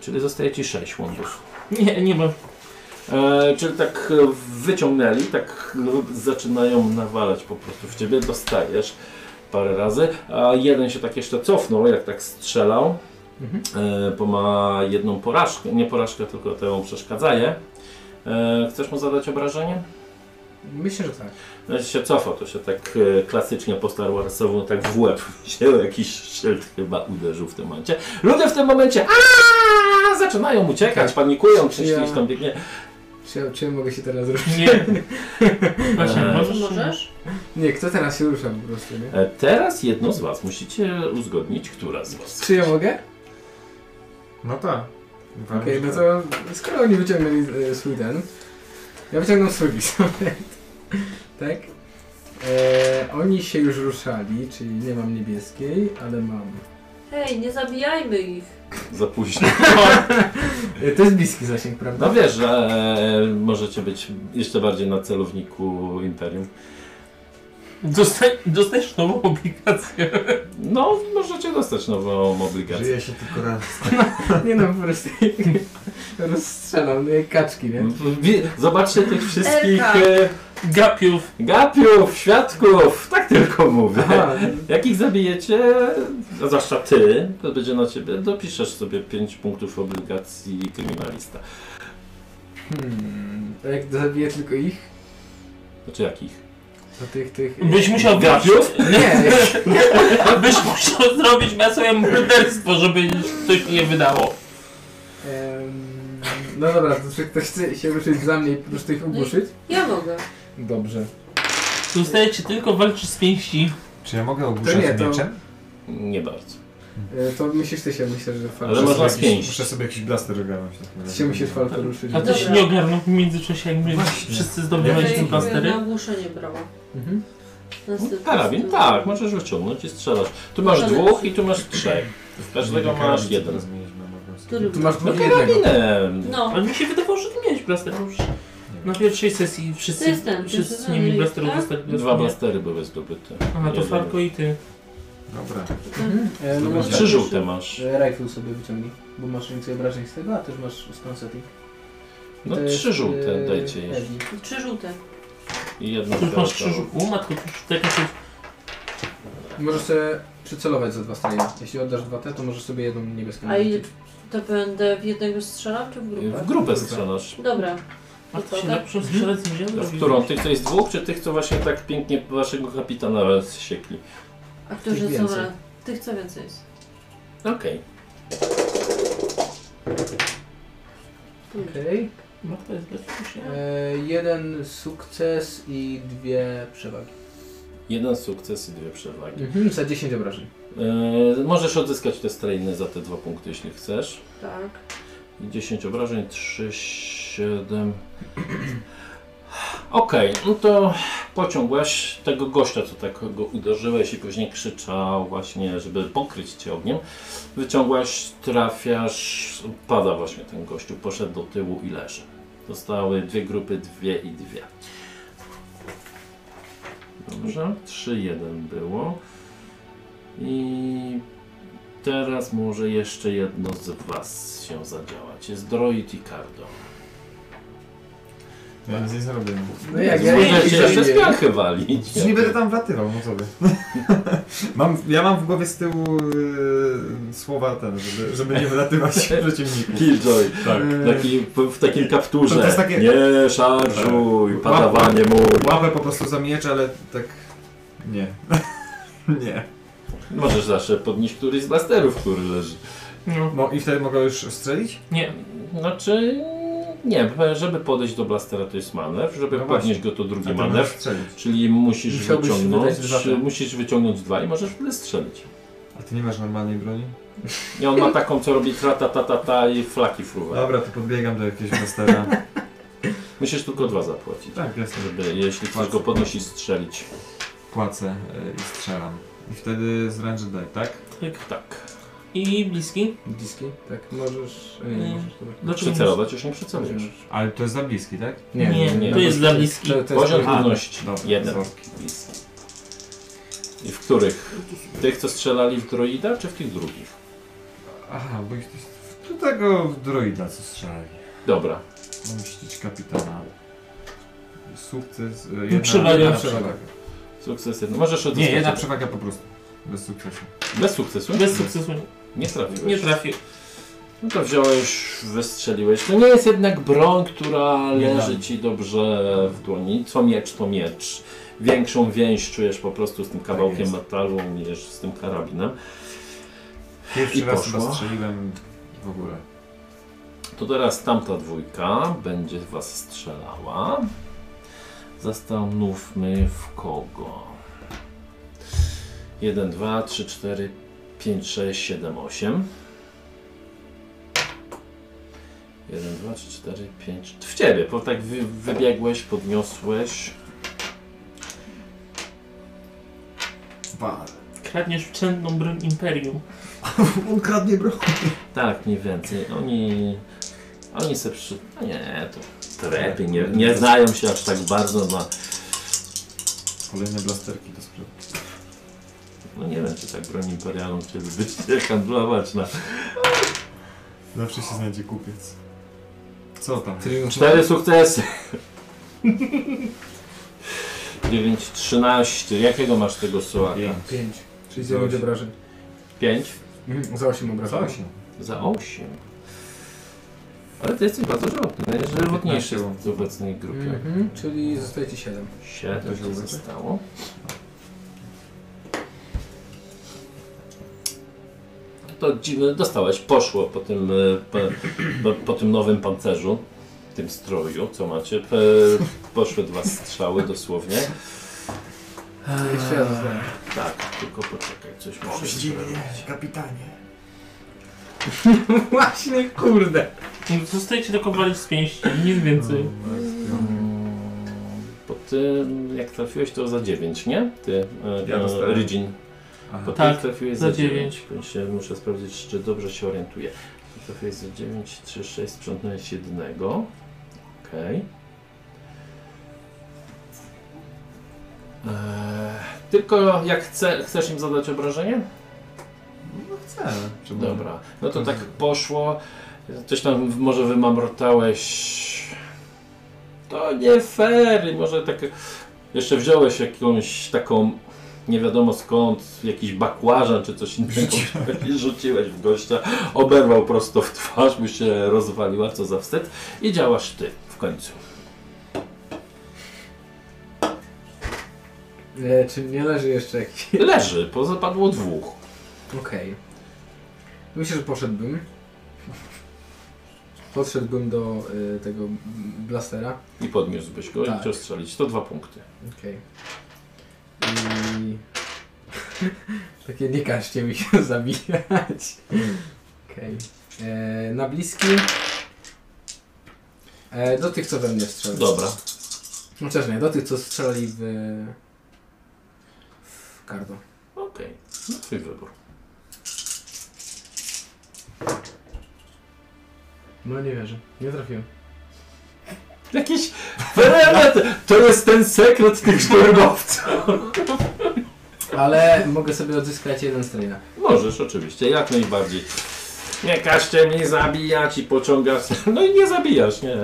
Speaker 1: Czyli zostaje ci 6 łądów.
Speaker 5: Nie, nie mam.
Speaker 1: E, czyli tak e, wyciągnęli, tak no, zaczynają nawalać po prostu w ciebie, dostajesz parę razy, a jeden się tak jeszcze cofnął, jak tak strzelał,
Speaker 3: Mhm.
Speaker 1: e, bo ma jedną porażkę, nie porażkę, tylko temu przeszkadzaje. E, chcesz mu zadać obrażenie?
Speaker 3: Myślę, że tak.
Speaker 1: No, się cofa, to się tak e, klasycznie po Star Warsowo, tak w łeb się jakiś szyld chyba uderzył w tym momencie. Ludzie w tym momencie aaa, zaczynają uciekać, panikują, krzyż
Speaker 3: Tak. Ja-
Speaker 1: gdzieś tam biegnie.
Speaker 3: Czy ja, czy ja mogę się teraz ruszyć?
Speaker 5: Nie. Właśnie,
Speaker 1: Eee.
Speaker 2: Czy możesz?
Speaker 3: Nie, kto teraz się rusza po prostu, nie?
Speaker 1: E, Teraz jedno z Was musicie uzgodnić, która z Was.
Speaker 3: Czy ja mogę?
Speaker 4: No tak.
Speaker 3: Okej, no to skoro oni wyciągnęli e, swój ten, ja wyciągnął swój pistolet, tak? E, oni się już ruszali, czyli nie mam niebieskiej, ale mam.
Speaker 2: Hej, nie zabijajmy ich.
Speaker 1: Za późno.
Speaker 3: E, to jest bliski zasięg, prawda?
Speaker 1: No wiesz, że e, możecie być jeszcze bardziej na celowniku Imperium.
Speaker 5: Dostań, dostajesz nową obligację.
Speaker 1: No, możecie dostać nową obligację.
Speaker 4: Żyje się tylko raz.
Speaker 3: Nie no, po prostu rozstrzelam, no jak kaczki, nie?
Speaker 1: Wi- Zobaczcie tych wszystkich
Speaker 2: Elka.
Speaker 1: e,
Speaker 5: Gapiów.
Speaker 1: gapiów, świadków, tak tylko mówię.
Speaker 3: Aha,
Speaker 1: Jak ich zabijecie, a zwłaszcza ty, to będzie na ciebie, dopiszesz sobie 5 punktów obligacji kryminalista.
Speaker 3: hmm, to jak zabiję tylko ich,
Speaker 1: Znaczy jakich?
Speaker 3: to tych, tych... y,
Speaker 5: Byś musiał
Speaker 1: Gapiów?
Speaker 3: Nie,
Speaker 5: Byś musiał zrobić masowe morderstwo, żeby coś nie wydało.
Speaker 3: em, no dobra, to czy ktoś chce się ruszyć za mnie i po prostu ich ogłuszyć?
Speaker 2: Ja mogę.
Speaker 3: Dobrze.
Speaker 5: Dostajecie tylko walczysz z pięści.
Speaker 4: Czy ja mogę ogłuszać
Speaker 3: nie, to-
Speaker 4: mieczem?
Speaker 1: Nie bardzo.
Speaker 3: E, to musisz ty się, myślę, że
Speaker 1: Ale
Speaker 3: falko,
Speaker 4: Muszę
Speaker 1: można
Speaker 4: sobie
Speaker 1: z
Speaker 4: jakiś-
Speaker 1: pięści.
Speaker 4: Muszę sobie jakiś blaster ogarnąć. w takim
Speaker 3: ty
Speaker 4: razie.
Speaker 3: się musisz falko ruszyć. No
Speaker 5: A ty się
Speaker 2: Dobra.
Speaker 5: nie ogarnął w międzyczasie, jak my
Speaker 4: Właśnie.
Speaker 5: wszyscy
Speaker 4: Weź
Speaker 2: Ja
Speaker 5: zdobywaliśmy
Speaker 4: ten
Speaker 2: ich
Speaker 5: plastery.
Speaker 2: na głusze nie brałam.
Speaker 3: Mhm.
Speaker 2: Następny
Speaker 1: Karabin,
Speaker 2: stół.
Speaker 1: tak, możesz wyciągnąć i strzelasz. Tu masz
Speaker 2: Możemy.
Speaker 1: dwóch i tu masz trzech. W każdego
Speaker 4: Karabin
Speaker 1: masz
Speaker 4: sobie
Speaker 5: No,
Speaker 1: jeden.
Speaker 4: zmienić na mogę sobie.
Speaker 2: Który?
Speaker 3: Tu masz
Speaker 1: No
Speaker 3: dwóch jednego.
Speaker 1: karabinem.
Speaker 2: No,
Speaker 5: Ale mi się wydawało, że ty miałeś blaster już.
Speaker 1: No.
Speaker 5: Na pierwszej sesji wszyscy,
Speaker 2: To jest ten, to jest
Speaker 5: wszyscy
Speaker 2: ten,
Speaker 5: nie mieli blasterów
Speaker 2: tak?
Speaker 5: dostali.
Speaker 1: Dwa blastery były zdobyte.
Speaker 5: Aha, to
Speaker 1: Jeden.
Speaker 5: Farko i ty.
Speaker 4: Dobra.
Speaker 3: Mhm. E, no
Speaker 4: Zobacz.
Speaker 3: masz
Speaker 1: Trzy żółte masz.
Speaker 3: E, Rifle sobie wyciągnij, bo masz więcej obrażeń z tego, a też masz z koncerty.
Speaker 1: No trzy
Speaker 3: e,
Speaker 2: e,
Speaker 1: żółte dajcie jeszcze.
Speaker 2: trzy żółte.
Speaker 1: I jedno
Speaker 5: Tu już masz
Speaker 1: fioletowe.
Speaker 5: krzyżu. O matko, to już taka coś.
Speaker 3: Możesz sobie przycelować za dwa strony. Jeśli oddasz dwa te, to możesz sobie jedną niebieską.
Speaker 2: A i to będę w jednego strzelał czy w grupę?
Speaker 1: W grupę strzelasz.
Speaker 2: Dobra,
Speaker 5: A to się
Speaker 2: Istotę?
Speaker 5: lepszą strzelec mi ziemi
Speaker 1: W
Speaker 5: robi.
Speaker 1: którą? Tych, co jest dwóch, czy tych, co właśnie tak pięknie waszego kapitana rozsiekli?
Speaker 2: A którzy
Speaker 3: Tych
Speaker 2: są
Speaker 3: więcej.
Speaker 2: ra- Tych co więcej jest.
Speaker 1: Okej.
Speaker 2: Tu jest.
Speaker 3: Okej.
Speaker 5: No to jest bezpośrednio.
Speaker 3: E, jeden sukces i dwie przewagi.
Speaker 1: Jeden sukces i dwie przewagi.
Speaker 3: Mhm, za 10 obrażeń.
Speaker 1: Eee, możesz odzyskać te strajny za te dwa punkty, jeśli chcesz.
Speaker 2: Tak.
Speaker 1: 10 obrażeń, 3, 7. Okej, no to pociągłeś tego gościa, co tak go uderzyłeś i później krzyczał właśnie, żeby pokryć cię ogniem. Wyciągłaś, trafiasz, pada właśnie ten gościu, poszedł do tyłu i leży. Zostały dwie grupy, dwie i dwie. Dobrze, 3-1 było. I teraz może jeszcze jedno z Was się zadziałać. Jest Droid i Cardo.
Speaker 4: Ja nic nie zrobiłem.
Speaker 3: No jak ja
Speaker 1: Możecie
Speaker 3: jej
Speaker 1: jeszcze
Speaker 3: zabiję.
Speaker 1: spiachy walić.
Speaker 4: Przecież nie będę tam wlatywał, no co wy. mam, ja mam w głowie z tyłu yy, słowa ten, żeby, żeby nie wlatywać przeciwników.
Speaker 1: Killjoy.
Speaker 4: Tak.
Speaker 1: Taki, w takim kapturze.
Speaker 4: To jest takie-
Speaker 1: Nie szarżuj,
Speaker 4: Tak.
Speaker 1: padawanie mu.
Speaker 4: Łapę po prostu za miecz, ale tak... Nie. nie.
Speaker 1: Możesz zawsze podnieść któryś z blasterów, który leży.
Speaker 5: No.
Speaker 4: Mo- I wtedy mogę już strzelić?
Speaker 5: Nie.
Speaker 1: Znaczy, nie, żeby podejść do blastera to jest manewr, żeby
Speaker 4: No
Speaker 1: podnieść go to
Speaker 4: A
Speaker 1: drugi
Speaker 4: ty
Speaker 1: manewr.
Speaker 4: możesz strzelić.
Speaker 1: Czyli musisz
Speaker 3: Musiałbyś
Speaker 1: wyciągnąć,
Speaker 3: wydać dwa te.
Speaker 1: musisz wyciągnąć dwa i możesz wtedy strzelić.
Speaker 4: A ty nie masz normalnej broni?
Speaker 1: I on ma taką, co robi tra ta ta ta, ta i flaki fruwa.
Speaker 4: No Dobra, to podbiegam do jakiegoś mastera.
Speaker 1: Musisz tylko dwa zapłacić.
Speaker 4: tak, jasne.
Speaker 1: Żeby, jeśli chcesz
Speaker 4: Płacę.
Speaker 1: go podnosić, strzelić.
Speaker 4: Płacę y, i strzelam. I wtedy z ranged die, tak?
Speaker 5: Tyk.
Speaker 1: Tak.
Speaker 5: I bliski.
Speaker 3: Bliski? Tak, możesz. e, Nie,
Speaker 5: Nie.
Speaker 3: możesz, dobra.
Speaker 4: Znaczy,
Speaker 5: Dlaczego
Speaker 1: Przycelować już nie przycelujesz.
Speaker 4: Ale to jest za bliski, tak?
Speaker 5: Nie, nie,
Speaker 1: nie.
Speaker 5: to jest dla bliskich.
Speaker 3: To, to jest
Speaker 1: Poziom
Speaker 4: Aha,
Speaker 1: trudności.
Speaker 4: dobra,
Speaker 1: Jeden.
Speaker 4: dobra.
Speaker 1: I w których? Tych, co strzelali w droida, czy w tych drugich?
Speaker 4: Aha, bo ich ktoś... To tego droida, co strzelali.
Speaker 1: Dobra.
Speaker 4: Mam ścić kapitana. Sukces. y,
Speaker 5: przewaga.
Speaker 4: jedna
Speaker 3: Przewaga.
Speaker 1: Sukces jeden. No, Możesz odzyskać.
Speaker 4: Nie, jedna
Speaker 1: jeden.
Speaker 4: przewaga po prostu. Bez sukcesu.
Speaker 1: Bez sukcesu?
Speaker 5: Bez sukcesu.
Speaker 1: Nie trafiłeś.
Speaker 5: Nie trafił.
Speaker 1: No to wziąłeś, wystrzeliłeś. To nie jest jednak broń, która
Speaker 4: Nie
Speaker 1: leży
Speaker 4: dam.
Speaker 1: ci dobrze w dłoni. Co miecz, to miecz. Większą więź czujesz po prostu z tym kawałkiem
Speaker 4: Tak jest.
Speaker 1: metalu niż z tym karabinem.
Speaker 4: Pierwszy
Speaker 1: I
Speaker 4: raz
Speaker 1: poszło.
Speaker 4: chyba strzeliłem w ogóle.
Speaker 1: To teraz tamta dwójka będzie w was strzelała. Zastanówmy w kogo. 1, 2, 3, 4, 5, 6, 7, 8. 1, 2, 3, 4, 5. W ciebie, bo tak wy, wybiegłeś, podniosłeś.
Speaker 4: Dwa.
Speaker 5: Kradniesz wczętną broń Imperium.
Speaker 4: On kradnie broń.
Speaker 1: Tak, mniej więcej. Oni. Oni se przy. a Nie, to trepy. Nie, nie znają się aż tak bardzo na.
Speaker 4: Kolejne blasterki do sprzedaży.
Speaker 1: No nie wiem, czy tak broń imperialną chcielibyście handlować na...
Speaker 4: Zawsze się znajdzie kupiec. Co tam?
Speaker 3: Triumf.
Speaker 1: Cztery sukcesy! 9, 13. Jakiego masz tego sołaka?
Speaker 4: Pięć.
Speaker 3: 5. Czyli
Speaker 4: Za
Speaker 3: 9
Speaker 4: osiem.
Speaker 3: obrażeń.
Speaker 1: 5
Speaker 3: Mhm, za 8 obrażeń.
Speaker 4: Obrażało się.
Speaker 1: za 8. Ale ty jesteś bardzo żywotny. Najżywotniejszy z obecnej grupy.
Speaker 3: Mhm, czyli zostaje ci 7.
Speaker 1: 7
Speaker 4: To się
Speaker 1: to
Speaker 4: uleczy?
Speaker 1: zostało. To dziwne, dostałeś, poszło po tym, e, pe- po, po tym nowym pancerzu, tym stroju, co macie. Pe, poszły dwa strzały dosłownie.
Speaker 3: Jeszcze ja zostaję.
Speaker 1: Tak, tylko poczekaj, coś muszę zrobić.
Speaker 4: kapitanie.
Speaker 3: Właśnie, kurde.
Speaker 5: Zostajecie tylko walić z pięści, nic więcej.
Speaker 1: No.
Speaker 4: No,
Speaker 1: Mm, Bo ty, jak trafiłeś, to za 9, nie? Ty, e,
Speaker 4: Ja dostałem.
Speaker 1: e, Rydzin. To
Speaker 5: Tak,
Speaker 1: ty trafiłeś
Speaker 5: za
Speaker 1: za
Speaker 5: dziewięć.
Speaker 1: 9. Się, muszę sprawdzić, czy dobrze się orientuję. Ty Trafiłeś za 9, 3, 6, sprzątnąłeś jednego. Okej. Eee, Tylko jak chce, chcesz im zadać obrażenie?
Speaker 4: No chcę. Czemu?
Speaker 1: Dobra, no to tak poszło. Coś tam może wymamrotałeś. To nie fair. I może tak jeszcze wziąłeś jakąś taką nie wiadomo skąd, jakiś bakłażan czy coś innego i rzuciłeś w gościa, oberwał prosto w twarz, by się rozwaliła, co za wstyd i działasz ty w końcu.
Speaker 3: E, czy nie leży jeszcze jakiś...
Speaker 1: Leży, pozapadło dwóch.
Speaker 3: Okej. Myślę, że poszedłbym. Podszedłbym do y, tego blastera.
Speaker 1: I podniósłbyś go
Speaker 3: Tak.
Speaker 1: i chciał strzelić. To dwa punkty.
Speaker 3: Okej. I... Takie nie każcie mi się zabijać. Okej. E, Na bliski. E, do tych, co we mnie strzeli.
Speaker 1: Dobra.
Speaker 3: Chociaż nie, do tych, co strzeli w... w kardo.
Speaker 1: Okej. No twój wybór.
Speaker 3: No nie wierzę. Nie trafiłem.
Speaker 1: Jakiś perelet! To jest ten sekret tych szturbowców.
Speaker 3: Ale mogę sobie odzyskać jeden straina.
Speaker 1: Możesz, oczywiście, jak najbardziej. Nie każcie mnie zabijać i pociągasz. No i nie zabijasz, nie.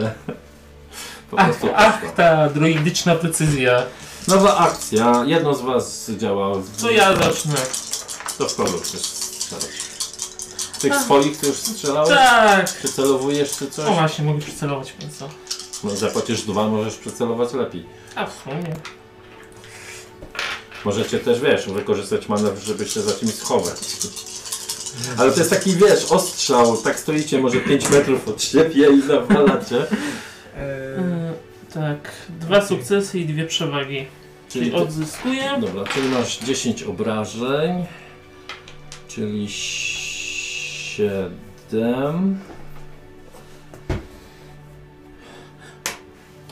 Speaker 1: Po
Speaker 5: Ach,
Speaker 1: prostu.
Speaker 5: ach, ta droidyczna precyzja.
Speaker 1: Nowa akcja. Jedno z was działa. w-
Speaker 5: Co ja zacznę?
Speaker 1: To w kogo chcesz strzelać? Tych swoich ty już strzelałeś?
Speaker 5: Tak!
Speaker 1: Przycelowujesz czy
Speaker 5: O
Speaker 1: coś?
Speaker 5: właśnie, mogę przycelować końca.
Speaker 1: No, zapłacisz dwa, możesz przycelować lepiej.
Speaker 5: A w sumie.
Speaker 1: Możecie też, wiesz, wykorzystać manewr, żeby się za czymś schować. Ale to jest taki, wiesz, ostrzał, tak stoicie może 5 metrów od siebie i nawalacie.
Speaker 5: Yy, tak, dwa sukcesy i dwie przewagi. Czyli
Speaker 1: ty-
Speaker 5: odzyskuję.
Speaker 1: Dobra, czyli masz 10 obrażeń, czyli 7.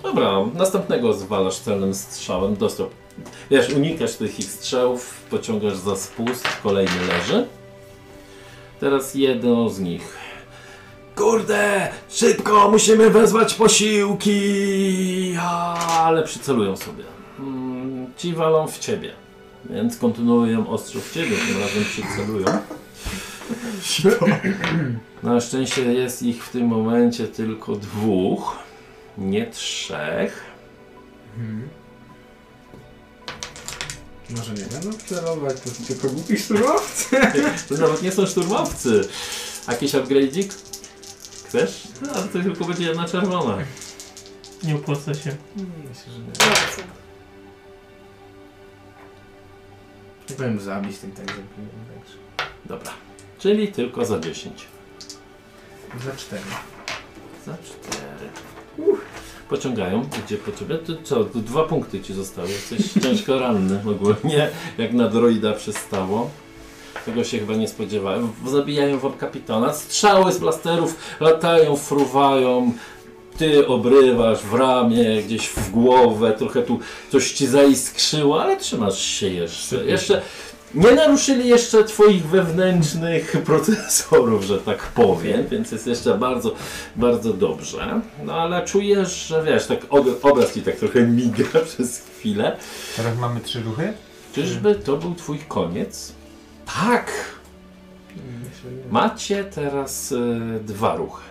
Speaker 1: Dobra, następnego zwalasz celnym strzałem, dostał. Wiesz, unikasz tych ich strzałów, pociągasz za spust, kolejny leży. Teraz jedno z nich. Kurde, szybko, musimy wezwać posiłki! Ale przycelują sobie. Mm, Ci walą w ciebie, więc kontynuują ostro w ciebie, tym razem przycelują. Na szczęście jest ich w tym momencie tylko dwóch, nie trzech.
Speaker 3: Mhm. Może nie będą celować, to są tylko głupi surowcy.
Speaker 1: To nawet nie są szturmowcy. Jakiś upgrade'ik? Chcesz? No, ale to tylko będzie jedna czerwona.
Speaker 5: Nie opłaca się.
Speaker 3: Myślę, że nie.
Speaker 2: Dobrze.
Speaker 3: Nie powiem zabić tym tak zabiję.
Speaker 1: Dobra, czyli tylko za 10.
Speaker 3: Za cztery.
Speaker 1: Za 4. Pociągają, gdzie potrzebne. To co, to dwa punkty ci zostały. Jesteś ciężko ranny ogólnie, jak na droida przystało. Tego się chyba nie spodziewałem. Zabijają wam kapitana. Strzały z blasterów latają, fruwają. Ty obrywasz w ramię, gdzieś w głowę, trochę tu coś ci zaiskrzyło, ale trzymasz się jeszcze. Jeszcze nie naruszyli jeszcze twoich wewnętrznych procesorów, że tak powiem, więc jest jeszcze bardzo bardzo dobrze, no ale czujesz, że wiesz, tak ob- obraz ci tak trochę miga przez chwilę.
Speaker 4: Teraz mamy trzy ruchy?
Speaker 1: Czyżby to był twój koniec? Tak!
Speaker 3: Myślę, że nie.
Speaker 1: Macie teraz y, dwa ruchy.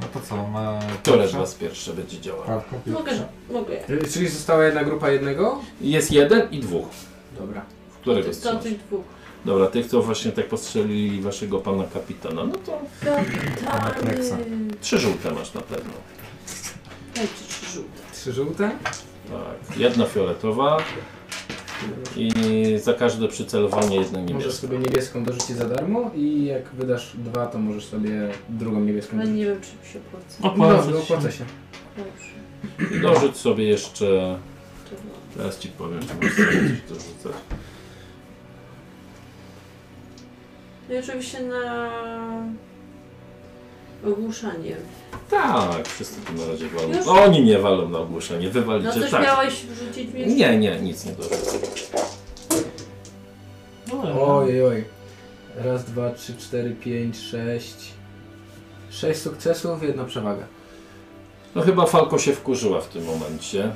Speaker 4: No to co, ma...
Speaker 1: Które z
Speaker 4: pierwsza?
Speaker 1: was pierwsze będzie działało?
Speaker 4: Prawka, pierwsza.
Speaker 2: Mogę, mogę. ja.
Speaker 3: Y, Czyli została jedna grupa jednego?
Speaker 1: Jest jeden i dwóch.
Speaker 3: Dobra.
Speaker 1: W którego
Speaker 2: To
Speaker 1: strzelasz?
Speaker 2: tych dwóch.
Speaker 1: Dobra, tych, co właśnie tak postrzelili waszego pana kapitana. No to
Speaker 4: Nexa.
Speaker 2: Kapitany.
Speaker 1: trzy żółte masz na pewno.
Speaker 2: Dajcie trzy żółte.
Speaker 3: Trzy żółte?
Speaker 1: Tak, jedna fioletowa i za każde przycelowanie jedna
Speaker 3: Możesz
Speaker 1: niebieska.
Speaker 3: sobie niebieską dorzucić za darmo i jak wydasz dwa, to możesz sobie drugą niebieską
Speaker 2: Ale
Speaker 3: dorzucić.
Speaker 2: nie wiem, czy mi się opłaca.
Speaker 5: Opłaca
Speaker 3: Dobrze,
Speaker 5: się.
Speaker 3: opłaca się.
Speaker 2: Dobrze.
Speaker 1: Dorzuć sobie jeszcze
Speaker 2: To było.
Speaker 1: Teraz ci powiem, czy masz sobie coś do rzucać.
Speaker 2: No i oczywiście na ogłuszanie.
Speaker 1: Tak, wszyscy tu na razie walą.
Speaker 2: Już?
Speaker 1: Oni nie walą na ogłoszenie, wywalicie
Speaker 2: No coś
Speaker 1: tak.
Speaker 2: miałeś wrzucić mi?
Speaker 1: Nie, nie, nic nie dorzucę.
Speaker 5: No, dobra.
Speaker 3: Oj, oj. Raz, dwa, trzy, cztery, pięć, sześć. Sześć sukcesów, jedna przewaga.
Speaker 1: No chyba Falko się wkurzyła w tym momencie.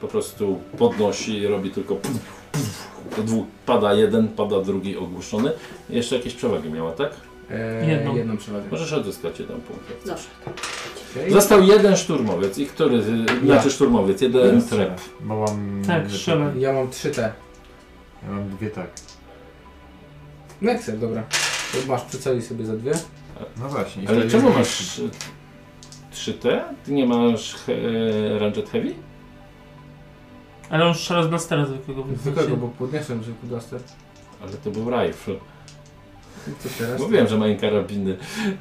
Speaker 1: Po prostu podnosi i robi tylko puf, puf. Do dwóch pada jeden, pada drugi ogłuszony. Jeszcze jakieś przewagi miała, tak?
Speaker 3: E,
Speaker 5: Jedną.
Speaker 3: jedną przewagę.
Speaker 1: Możesz odzyskać jeden punkt. jak chcesz.
Speaker 2: Dobrze.
Speaker 3: Okej.
Speaker 1: Został jeden szturmowiec i który,
Speaker 3: Ja.
Speaker 1: znaczy szturmowiec, jeden
Speaker 4: Teraz
Speaker 1: trep.
Speaker 4: strzelam, Bo mam...
Speaker 5: Tak, strzelam.
Speaker 3: Ja mam trzy te.
Speaker 4: Ja mam dwie tak.
Speaker 3: No jak chcesz, dobra. To masz przyceli sobie za dwie.
Speaker 4: No właśnie. i
Speaker 1: Ale
Speaker 4: wtedy
Speaker 1: czemu
Speaker 4: jest
Speaker 1: masz 3T? Ty nie masz he, Ranchet Heavy?
Speaker 5: Ale on strzela z blastera zwykłego, więc
Speaker 3: Zwykłego,
Speaker 5: się-
Speaker 3: bo podniosłem zwykły blaster.
Speaker 1: Ale to był rifle.
Speaker 3: Co teraz?
Speaker 1: Mówiłem, że mają karabiny.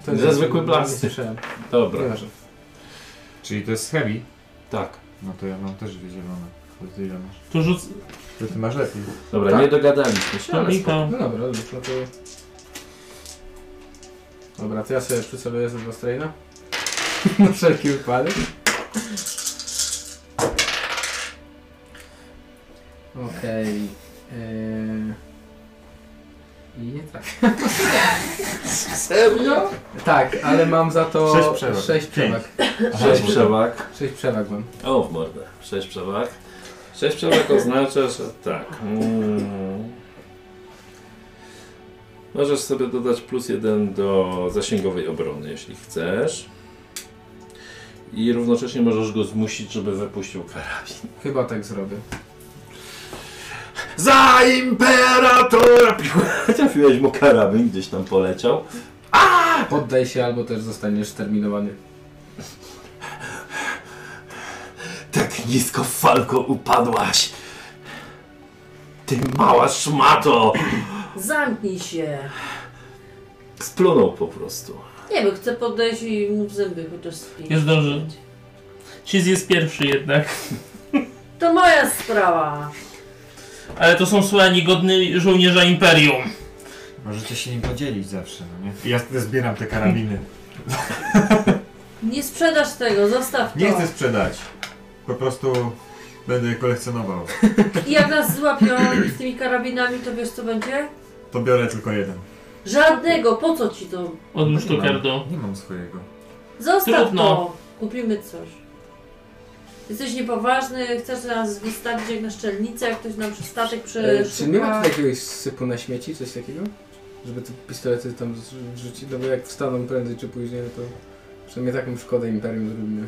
Speaker 3: To nie-
Speaker 1: Za zwykły
Speaker 3: nie
Speaker 1: blaster.
Speaker 3: słyszałem.
Speaker 1: Dobra,
Speaker 3: Nieważne.
Speaker 4: Czyli to jest heavy?
Speaker 1: tak.
Speaker 4: No to ja mam też dwie zielone. To ty ile masz?
Speaker 5: To rzuc...
Speaker 4: To ty masz lepiej.
Speaker 1: Dobra,
Speaker 4: Tak?
Speaker 1: nie dogadaliśmy się,
Speaker 5: To
Speaker 1: ale spoko.
Speaker 5: Mika.
Speaker 3: No dobra, dobrze, no to... Dobra, to ja sobie przyceluję ze Blastraina. Na wszelki wypadek. Okej. Eee... I nie tak.
Speaker 1: Serio?
Speaker 3: Tak, ale mam za to Sześć
Speaker 4: Sześć przewag.
Speaker 3: przewag.
Speaker 1: Sześć przewag.
Speaker 3: Sześć przewag mam.
Speaker 1: O, w mordę. Sześć przewag. Sześć przewag oznacza, że tak. Mm. Możesz sobie dodać plus jeden do zasięgowej obrony, jeśli chcesz. I równocześnie możesz go zmusić, żeby wypuścił karabin.
Speaker 3: Chyba tak zrobię.
Speaker 1: Za imperatora! Trafiłeś mu karabin, gdzieś tam poleciał.
Speaker 3: Poddaj się albo też zostaniesz terminowany.
Speaker 1: Tak nisko falko upadłaś. Ty mała szmato!
Speaker 2: Zamknij się.
Speaker 1: Splunął po prostu.
Speaker 2: Nie wiem, chcę podejść i mu w zęby chociaż spić.
Speaker 5: Jest dobrze. Cheese jest pierwszy jednak.
Speaker 2: To moja sprawa.
Speaker 5: Ale to są słowa niegodny żołnierza Imperium.
Speaker 4: Możecie się nim podzielić zawsze, no nie? I Ja zbieram te karabiny.
Speaker 2: Nie sprzedasz tego, zostaw to.
Speaker 4: Nie chcę sprzedać. Po prostu będę je kolekcjonował.
Speaker 2: I jak nas złapią z tymi karabinami, to wiesz co będzie?
Speaker 4: To biorę tylko jeden.
Speaker 2: Żadnego, po co ci to?
Speaker 1: No.
Speaker 5: Odmóż
Speaker 4: Nie
Speaker 5: to
Speaker 4: mam-
Speaker 5: kardo.
Speaker 4: Nie mam swojego.
Speaker 2: Zostaw
Speaker 5: Trudno.
Speaker 2: to. Kupimy coś. Jesteś niepoważny, chcesz nas wystawić jak na szczelnicę, jak ktoś nam przez statek
Speaker 3: E, czy nie ma
Speaker 2: przeszuka.
Speaker 3: tutaj jakiegoś sypu na śmieci, coś takiego? Żeby te pistolety tam z- wrzucić, no bo jak wstaną prędzej czy później, no to przynajmniej taką szkodę Imperium zrobimy.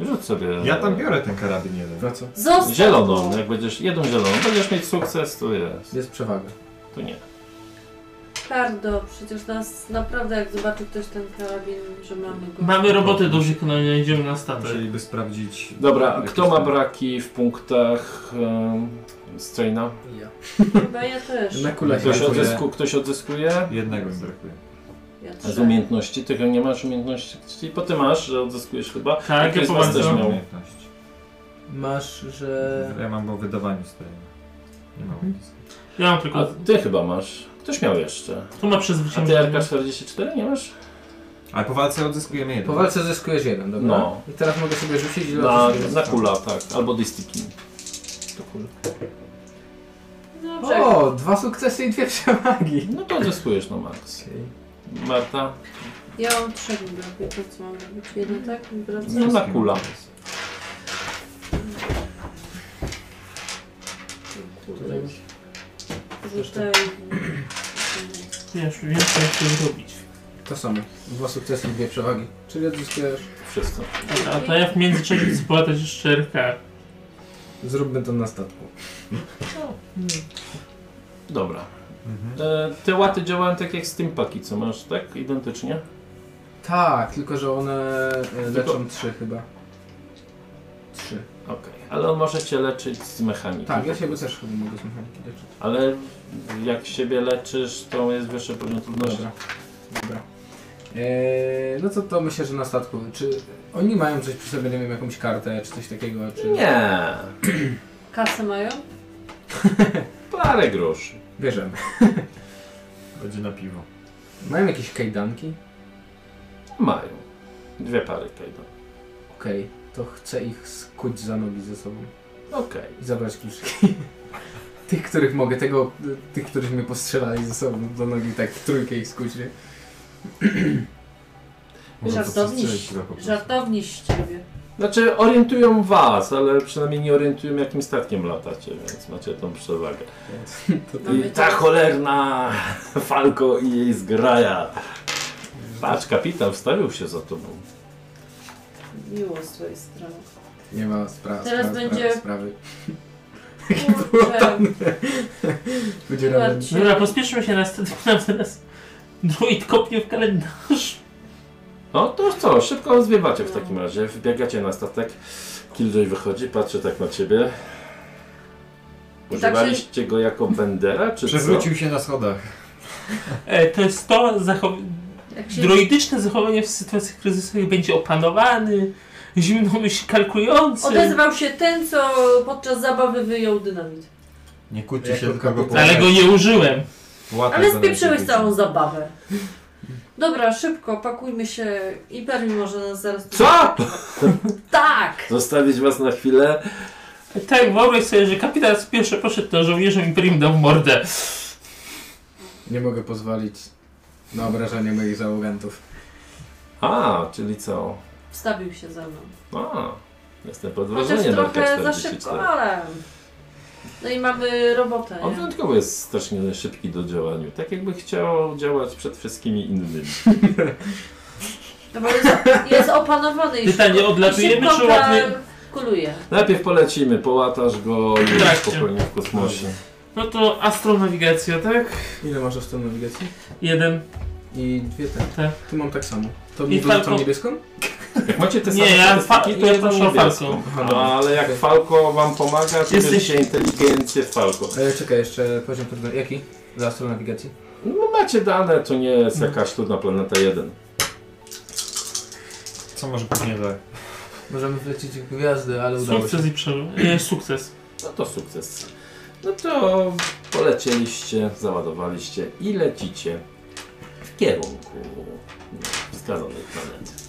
Speaker 1: Rzuć sobie.
Speaker 4: Ja tam biorę ten karabin jeden.
Speaker 3: No co?
Speaker 2: Zostaw to.
Speaker 1: Zieloną, jak będziesz jedną zieloną, będziesz mieć sukces, to jest.
Speaker 3: Jest przewaga.
Speaker 1: To nie.
Speaker 2: Kardo, przecież nas naprawdę jak zobaczy ktoś ten karabin, że mamy go.
Speaker 1: No.
Speaker 5: Mamy robotę do wykonania, idziemy na statek.
Speaker 4: Musieliby sprawdzić.
Speaker 1: Dobra,
Speaker 4: jakie
Speaker 1: kto ma
Speaker 4: są-
Speaker 1: braki w punktach um, Straina?
Speaker 3: Ja.
Speaker 2: Chyba ja też.
Speaker 3: Na kulach
Speaker 1: Ktoś,
Speaker 3: dziękuję.
Speaker 1: odzysku, ktoś odzyskuje?
Speaker 4: Jednego mi brakuje.
Speaker 2: Ja też.
Speaker 1: Z umiejętności, ty nie masz umiejętności, bo ty masz, że odzyskujesz chyba.
Speaker 5: Tak,
Speaker 1: Jakiś
Speaker 5: ja
Speaker 1: z was
Speaker 5: poważnie.
Speaker 1: też
Speaker 4: Mam
Speaker 1: miał.
Speaker 4: umiejętność.
Speaker 3: Masz,
Speaker 1: E-
Speaker 3: że...
Speaker 4: Ja mam o wydawaniu z tego. Nie
Speaker 1: Mhm.
Speaker 4: mam nic.
Speaker 5: Ja mam tylko...
Speaker 1: A ty chyba masz. Ktoś miał jeszcze.
Speaker 5: Tu ma
Speaker 1: A ty
Speaker 5: przezwyciężenie.
Speaker 1: RK44 nie masz?
Speaker 4: Ale po walce odzyskujemy jeden.
Speaker 3: Po walce zyskujesz jeden, dobra?
Speaker 1: No.
Speaker 3: I teraz mogę sobie rzucić ile
Speaker 1: Na,
Speaker 3: odzyskujesz.
Speaker 1: na kula, tak. Albo dystyki. To kul.
Speaker 2: Dobrze.
Speaker 3: O, dwa sukcesy i dwie przewagi.
Speaker 1: No to odzyskujesz na maks. Marta?
Speaker 2: Ja mam trzech brakuje, to co mam robić? Jeden tak? Wracam.
Speaker 1: No na kula.
Speaker 3: Tutaj już.
Speaker 2: Rzucaj.
Speaker 5: Wiesz, wiem co chcę zrobić.
Speaker 3: To samo. Dwa sukcesy i dwie przewagi. Czyli odzyskujesz...
Speaker 1: Wszystko.
Speaker 5: A to ja w międzyczasie spłatać jeszcze RK.
Speaker 3: Zróbmy to na statku.
Speaker 1: Dobra.
Speaker 4: Mhm.
Speaker 1: E, te łaty działają tak jak steampaki, co masz, tak? Identycznie?
Speaker 3: Tak, tylko że one e, leczą trzy chyba. Trzy.
Speaker 1: Okej. Ale on może cię leczyć z mechaniki.
Speaker 3: Tak, ja siebie też chyba mogę z mechaniki leczyć.
Speaker 1: Ale jak siebie leczysz, to jest wyższy poziom trudności.
Speaker 3: Dobra. Dobra. E, no to, to myślę, że na statku. Czy oni mają coś przy sobie, nie wiem, jakąś kartę czy coś takiego? Czy...
Speaker 1: Nie.
Speaker 2: Kasę mają?
Speaker 1: Parę groszy.
Speaker 3: Bierzemy.
Speaker 4: Będzie na piwo.
Speaker 3: Mają jakieś kajdanki?
Speaker 1: Mają. Dwie pary kajdan.
Speaker 3: Okej, to chcę ich skuć za nogi ze sobą
Speaker 1: Okej.
Speaker 3: i zabrać kluczyki. Tych, których mogę, tego, tych, których mnie postrzelali ze sobą do nogi, tak w trójkę ich skuć, nie?
Speaker 4: Może to
Speaker 2: Żartowniś.
Speaker 4: przestrzelić go po prostu.
Speaker 2: Żartowni z ciebie.
Speaker 1: Znaczy orientują was, ale przynajmniej nie orientują jakim statkiem latacie, więc macie tą przewagę.
Speaker 4: Tak.
Speaker 3: To
Speaker 2: No
Speaker 1: I ta cholerna Falko i jej zgraja. Patrz, kapitan wstawił się za tobą.
Speaker 2: Miło z twojej strony.
Speaker 3: nie ma sprawy.
Speaker 2: Teraz
Speaker 3: sprawy,
Speaker 2: będzie-
Speaker 3: Sprawy.
Speaker 2: Kurczę,
Speaker 3: Wydzieramy.
Speaker 2: Marcin.
Speaker 5: Dobra, pospieszmy się na statek, nam teraz druid kopnie w kalendarz.
Speaker 1: No to co, szybko zwiewacie w takim razie. Wbiegacie na statek. Killjoy wychodzi, patrzy tak na ciebie.
Speaker 2: I tak się-
Speaker 1: Używaliście go jako bendera, czy co?
Speaker 4: Przewrócił się na schodach.
Speaker 5: E, to jest to zachow-
Speaker 2: Jak się
Speaker 5: droidyczne zachowanie w sytuacjach kryzysowych będzie opanowany, zimnomyśl kalkulujący.
Speaker 2: odezwał się ten, co podczas zabawy wyjął dynamit.
Speaker 4: Nie kłóci
Speaker 3: Jako
Speaker 4: się, tylko go
Speaker 3: kapitan.
Speaker 5: Ale go nie użyłem.
Speaker 4: łapie
Speaker 2: Ale
Speaker 4: za ręce
Speaker 2: spieprzyłeś
Speaker 4: i-
Speaker 2: całą zabawę. Dobra, szybko, pakujmy się. Imperium może nas zaraz...
Speaker 1: Co?
Speaker 2: Tak!
Speaker 1: Zostawić was na chwilę.
Speaker 5: Tak, wyobraź sobie, że kapitan pierwszy poszedł do żołnierzom i prim dał mordę.
Speaker 3: Nie mogę pozwolić na obrażanie moich załogantów.
Speaker 1: A, czyli co?
Speaker 2: Wstawił się ze mną.
Speaker 1: A, jestem pod
Speaker 2: Chociaż
Speaker 1: wrażeniem
Speaker 2: trochę za
Speaker 1: Darka
Speaker 2: szybko,
Speaker 1: 44.
Speaker 2: ale... No i mamy robotę,
Speaker 1: On
Speaker 2: nie?
Speaker 1: wyjątkowo jest strasznie szybki do działania. Tak jakby chciał działać przed wszystkimi innymi.
Speaker 2: No bo jest, jest opanowany i
Speaker 5: Pytanie,
Speaker 2: szybko-
Speaker 5: odlatujemy,
Speaker 2: i szybko
Speaker 5: czy ładny-
Speaker 2: Kuluje.
Speaker 1: Najpierw polecimy, połatasz go i
Speaker 5: Tak,
Speaker 1: spokojnie w kosmosie.
Speaker 5: No to astronawigacja, tak?
Speaker 3: Ile masz w tym nawigacji?
Speaker 5: Jeden.
Speaker 3: I dwie te.
Speaker 5: Te.
Speaker 3: Tu mam tak samo. To
Speaker 5: I
Speaker 3: mi wyrzucą
Speaker 5: Falcon.
Speaker 3: niebieską?
Speaker 1: Jak macie te same
Speaker 5: Nie, ja fa-
Speaker 1: statystyki, to
Speaker 5: ja
Speaker 1: jest
Speaker 5: proszę o
Speaker 1: niebiesko.
Speaker 5: falką.
Speaker 3: Aha,
Speaker 1: No, ale jak Falko wam pomaga, to
Speaker 5: Jesteś-
Speaker 1: Jesteś... się inteligencję w Falko.
Speaker 3: E, czekaj, jeszcze poziom trudności. Jaki? Dla astronawigacji?
Speaker 1: No macie dane, to nie jest jakaś trudna planeta 1.
Speaker 4: Co może być nie tak?
Speaker 3: Możemy wlecieć w gwiazdy, ale udało się.
Speaker 5: Sukces i przeżył. E, sukces.
Speaker 1: No to sukces. No to polecieliście, załadowaliście i lecicie w kierunku wskazanej planety.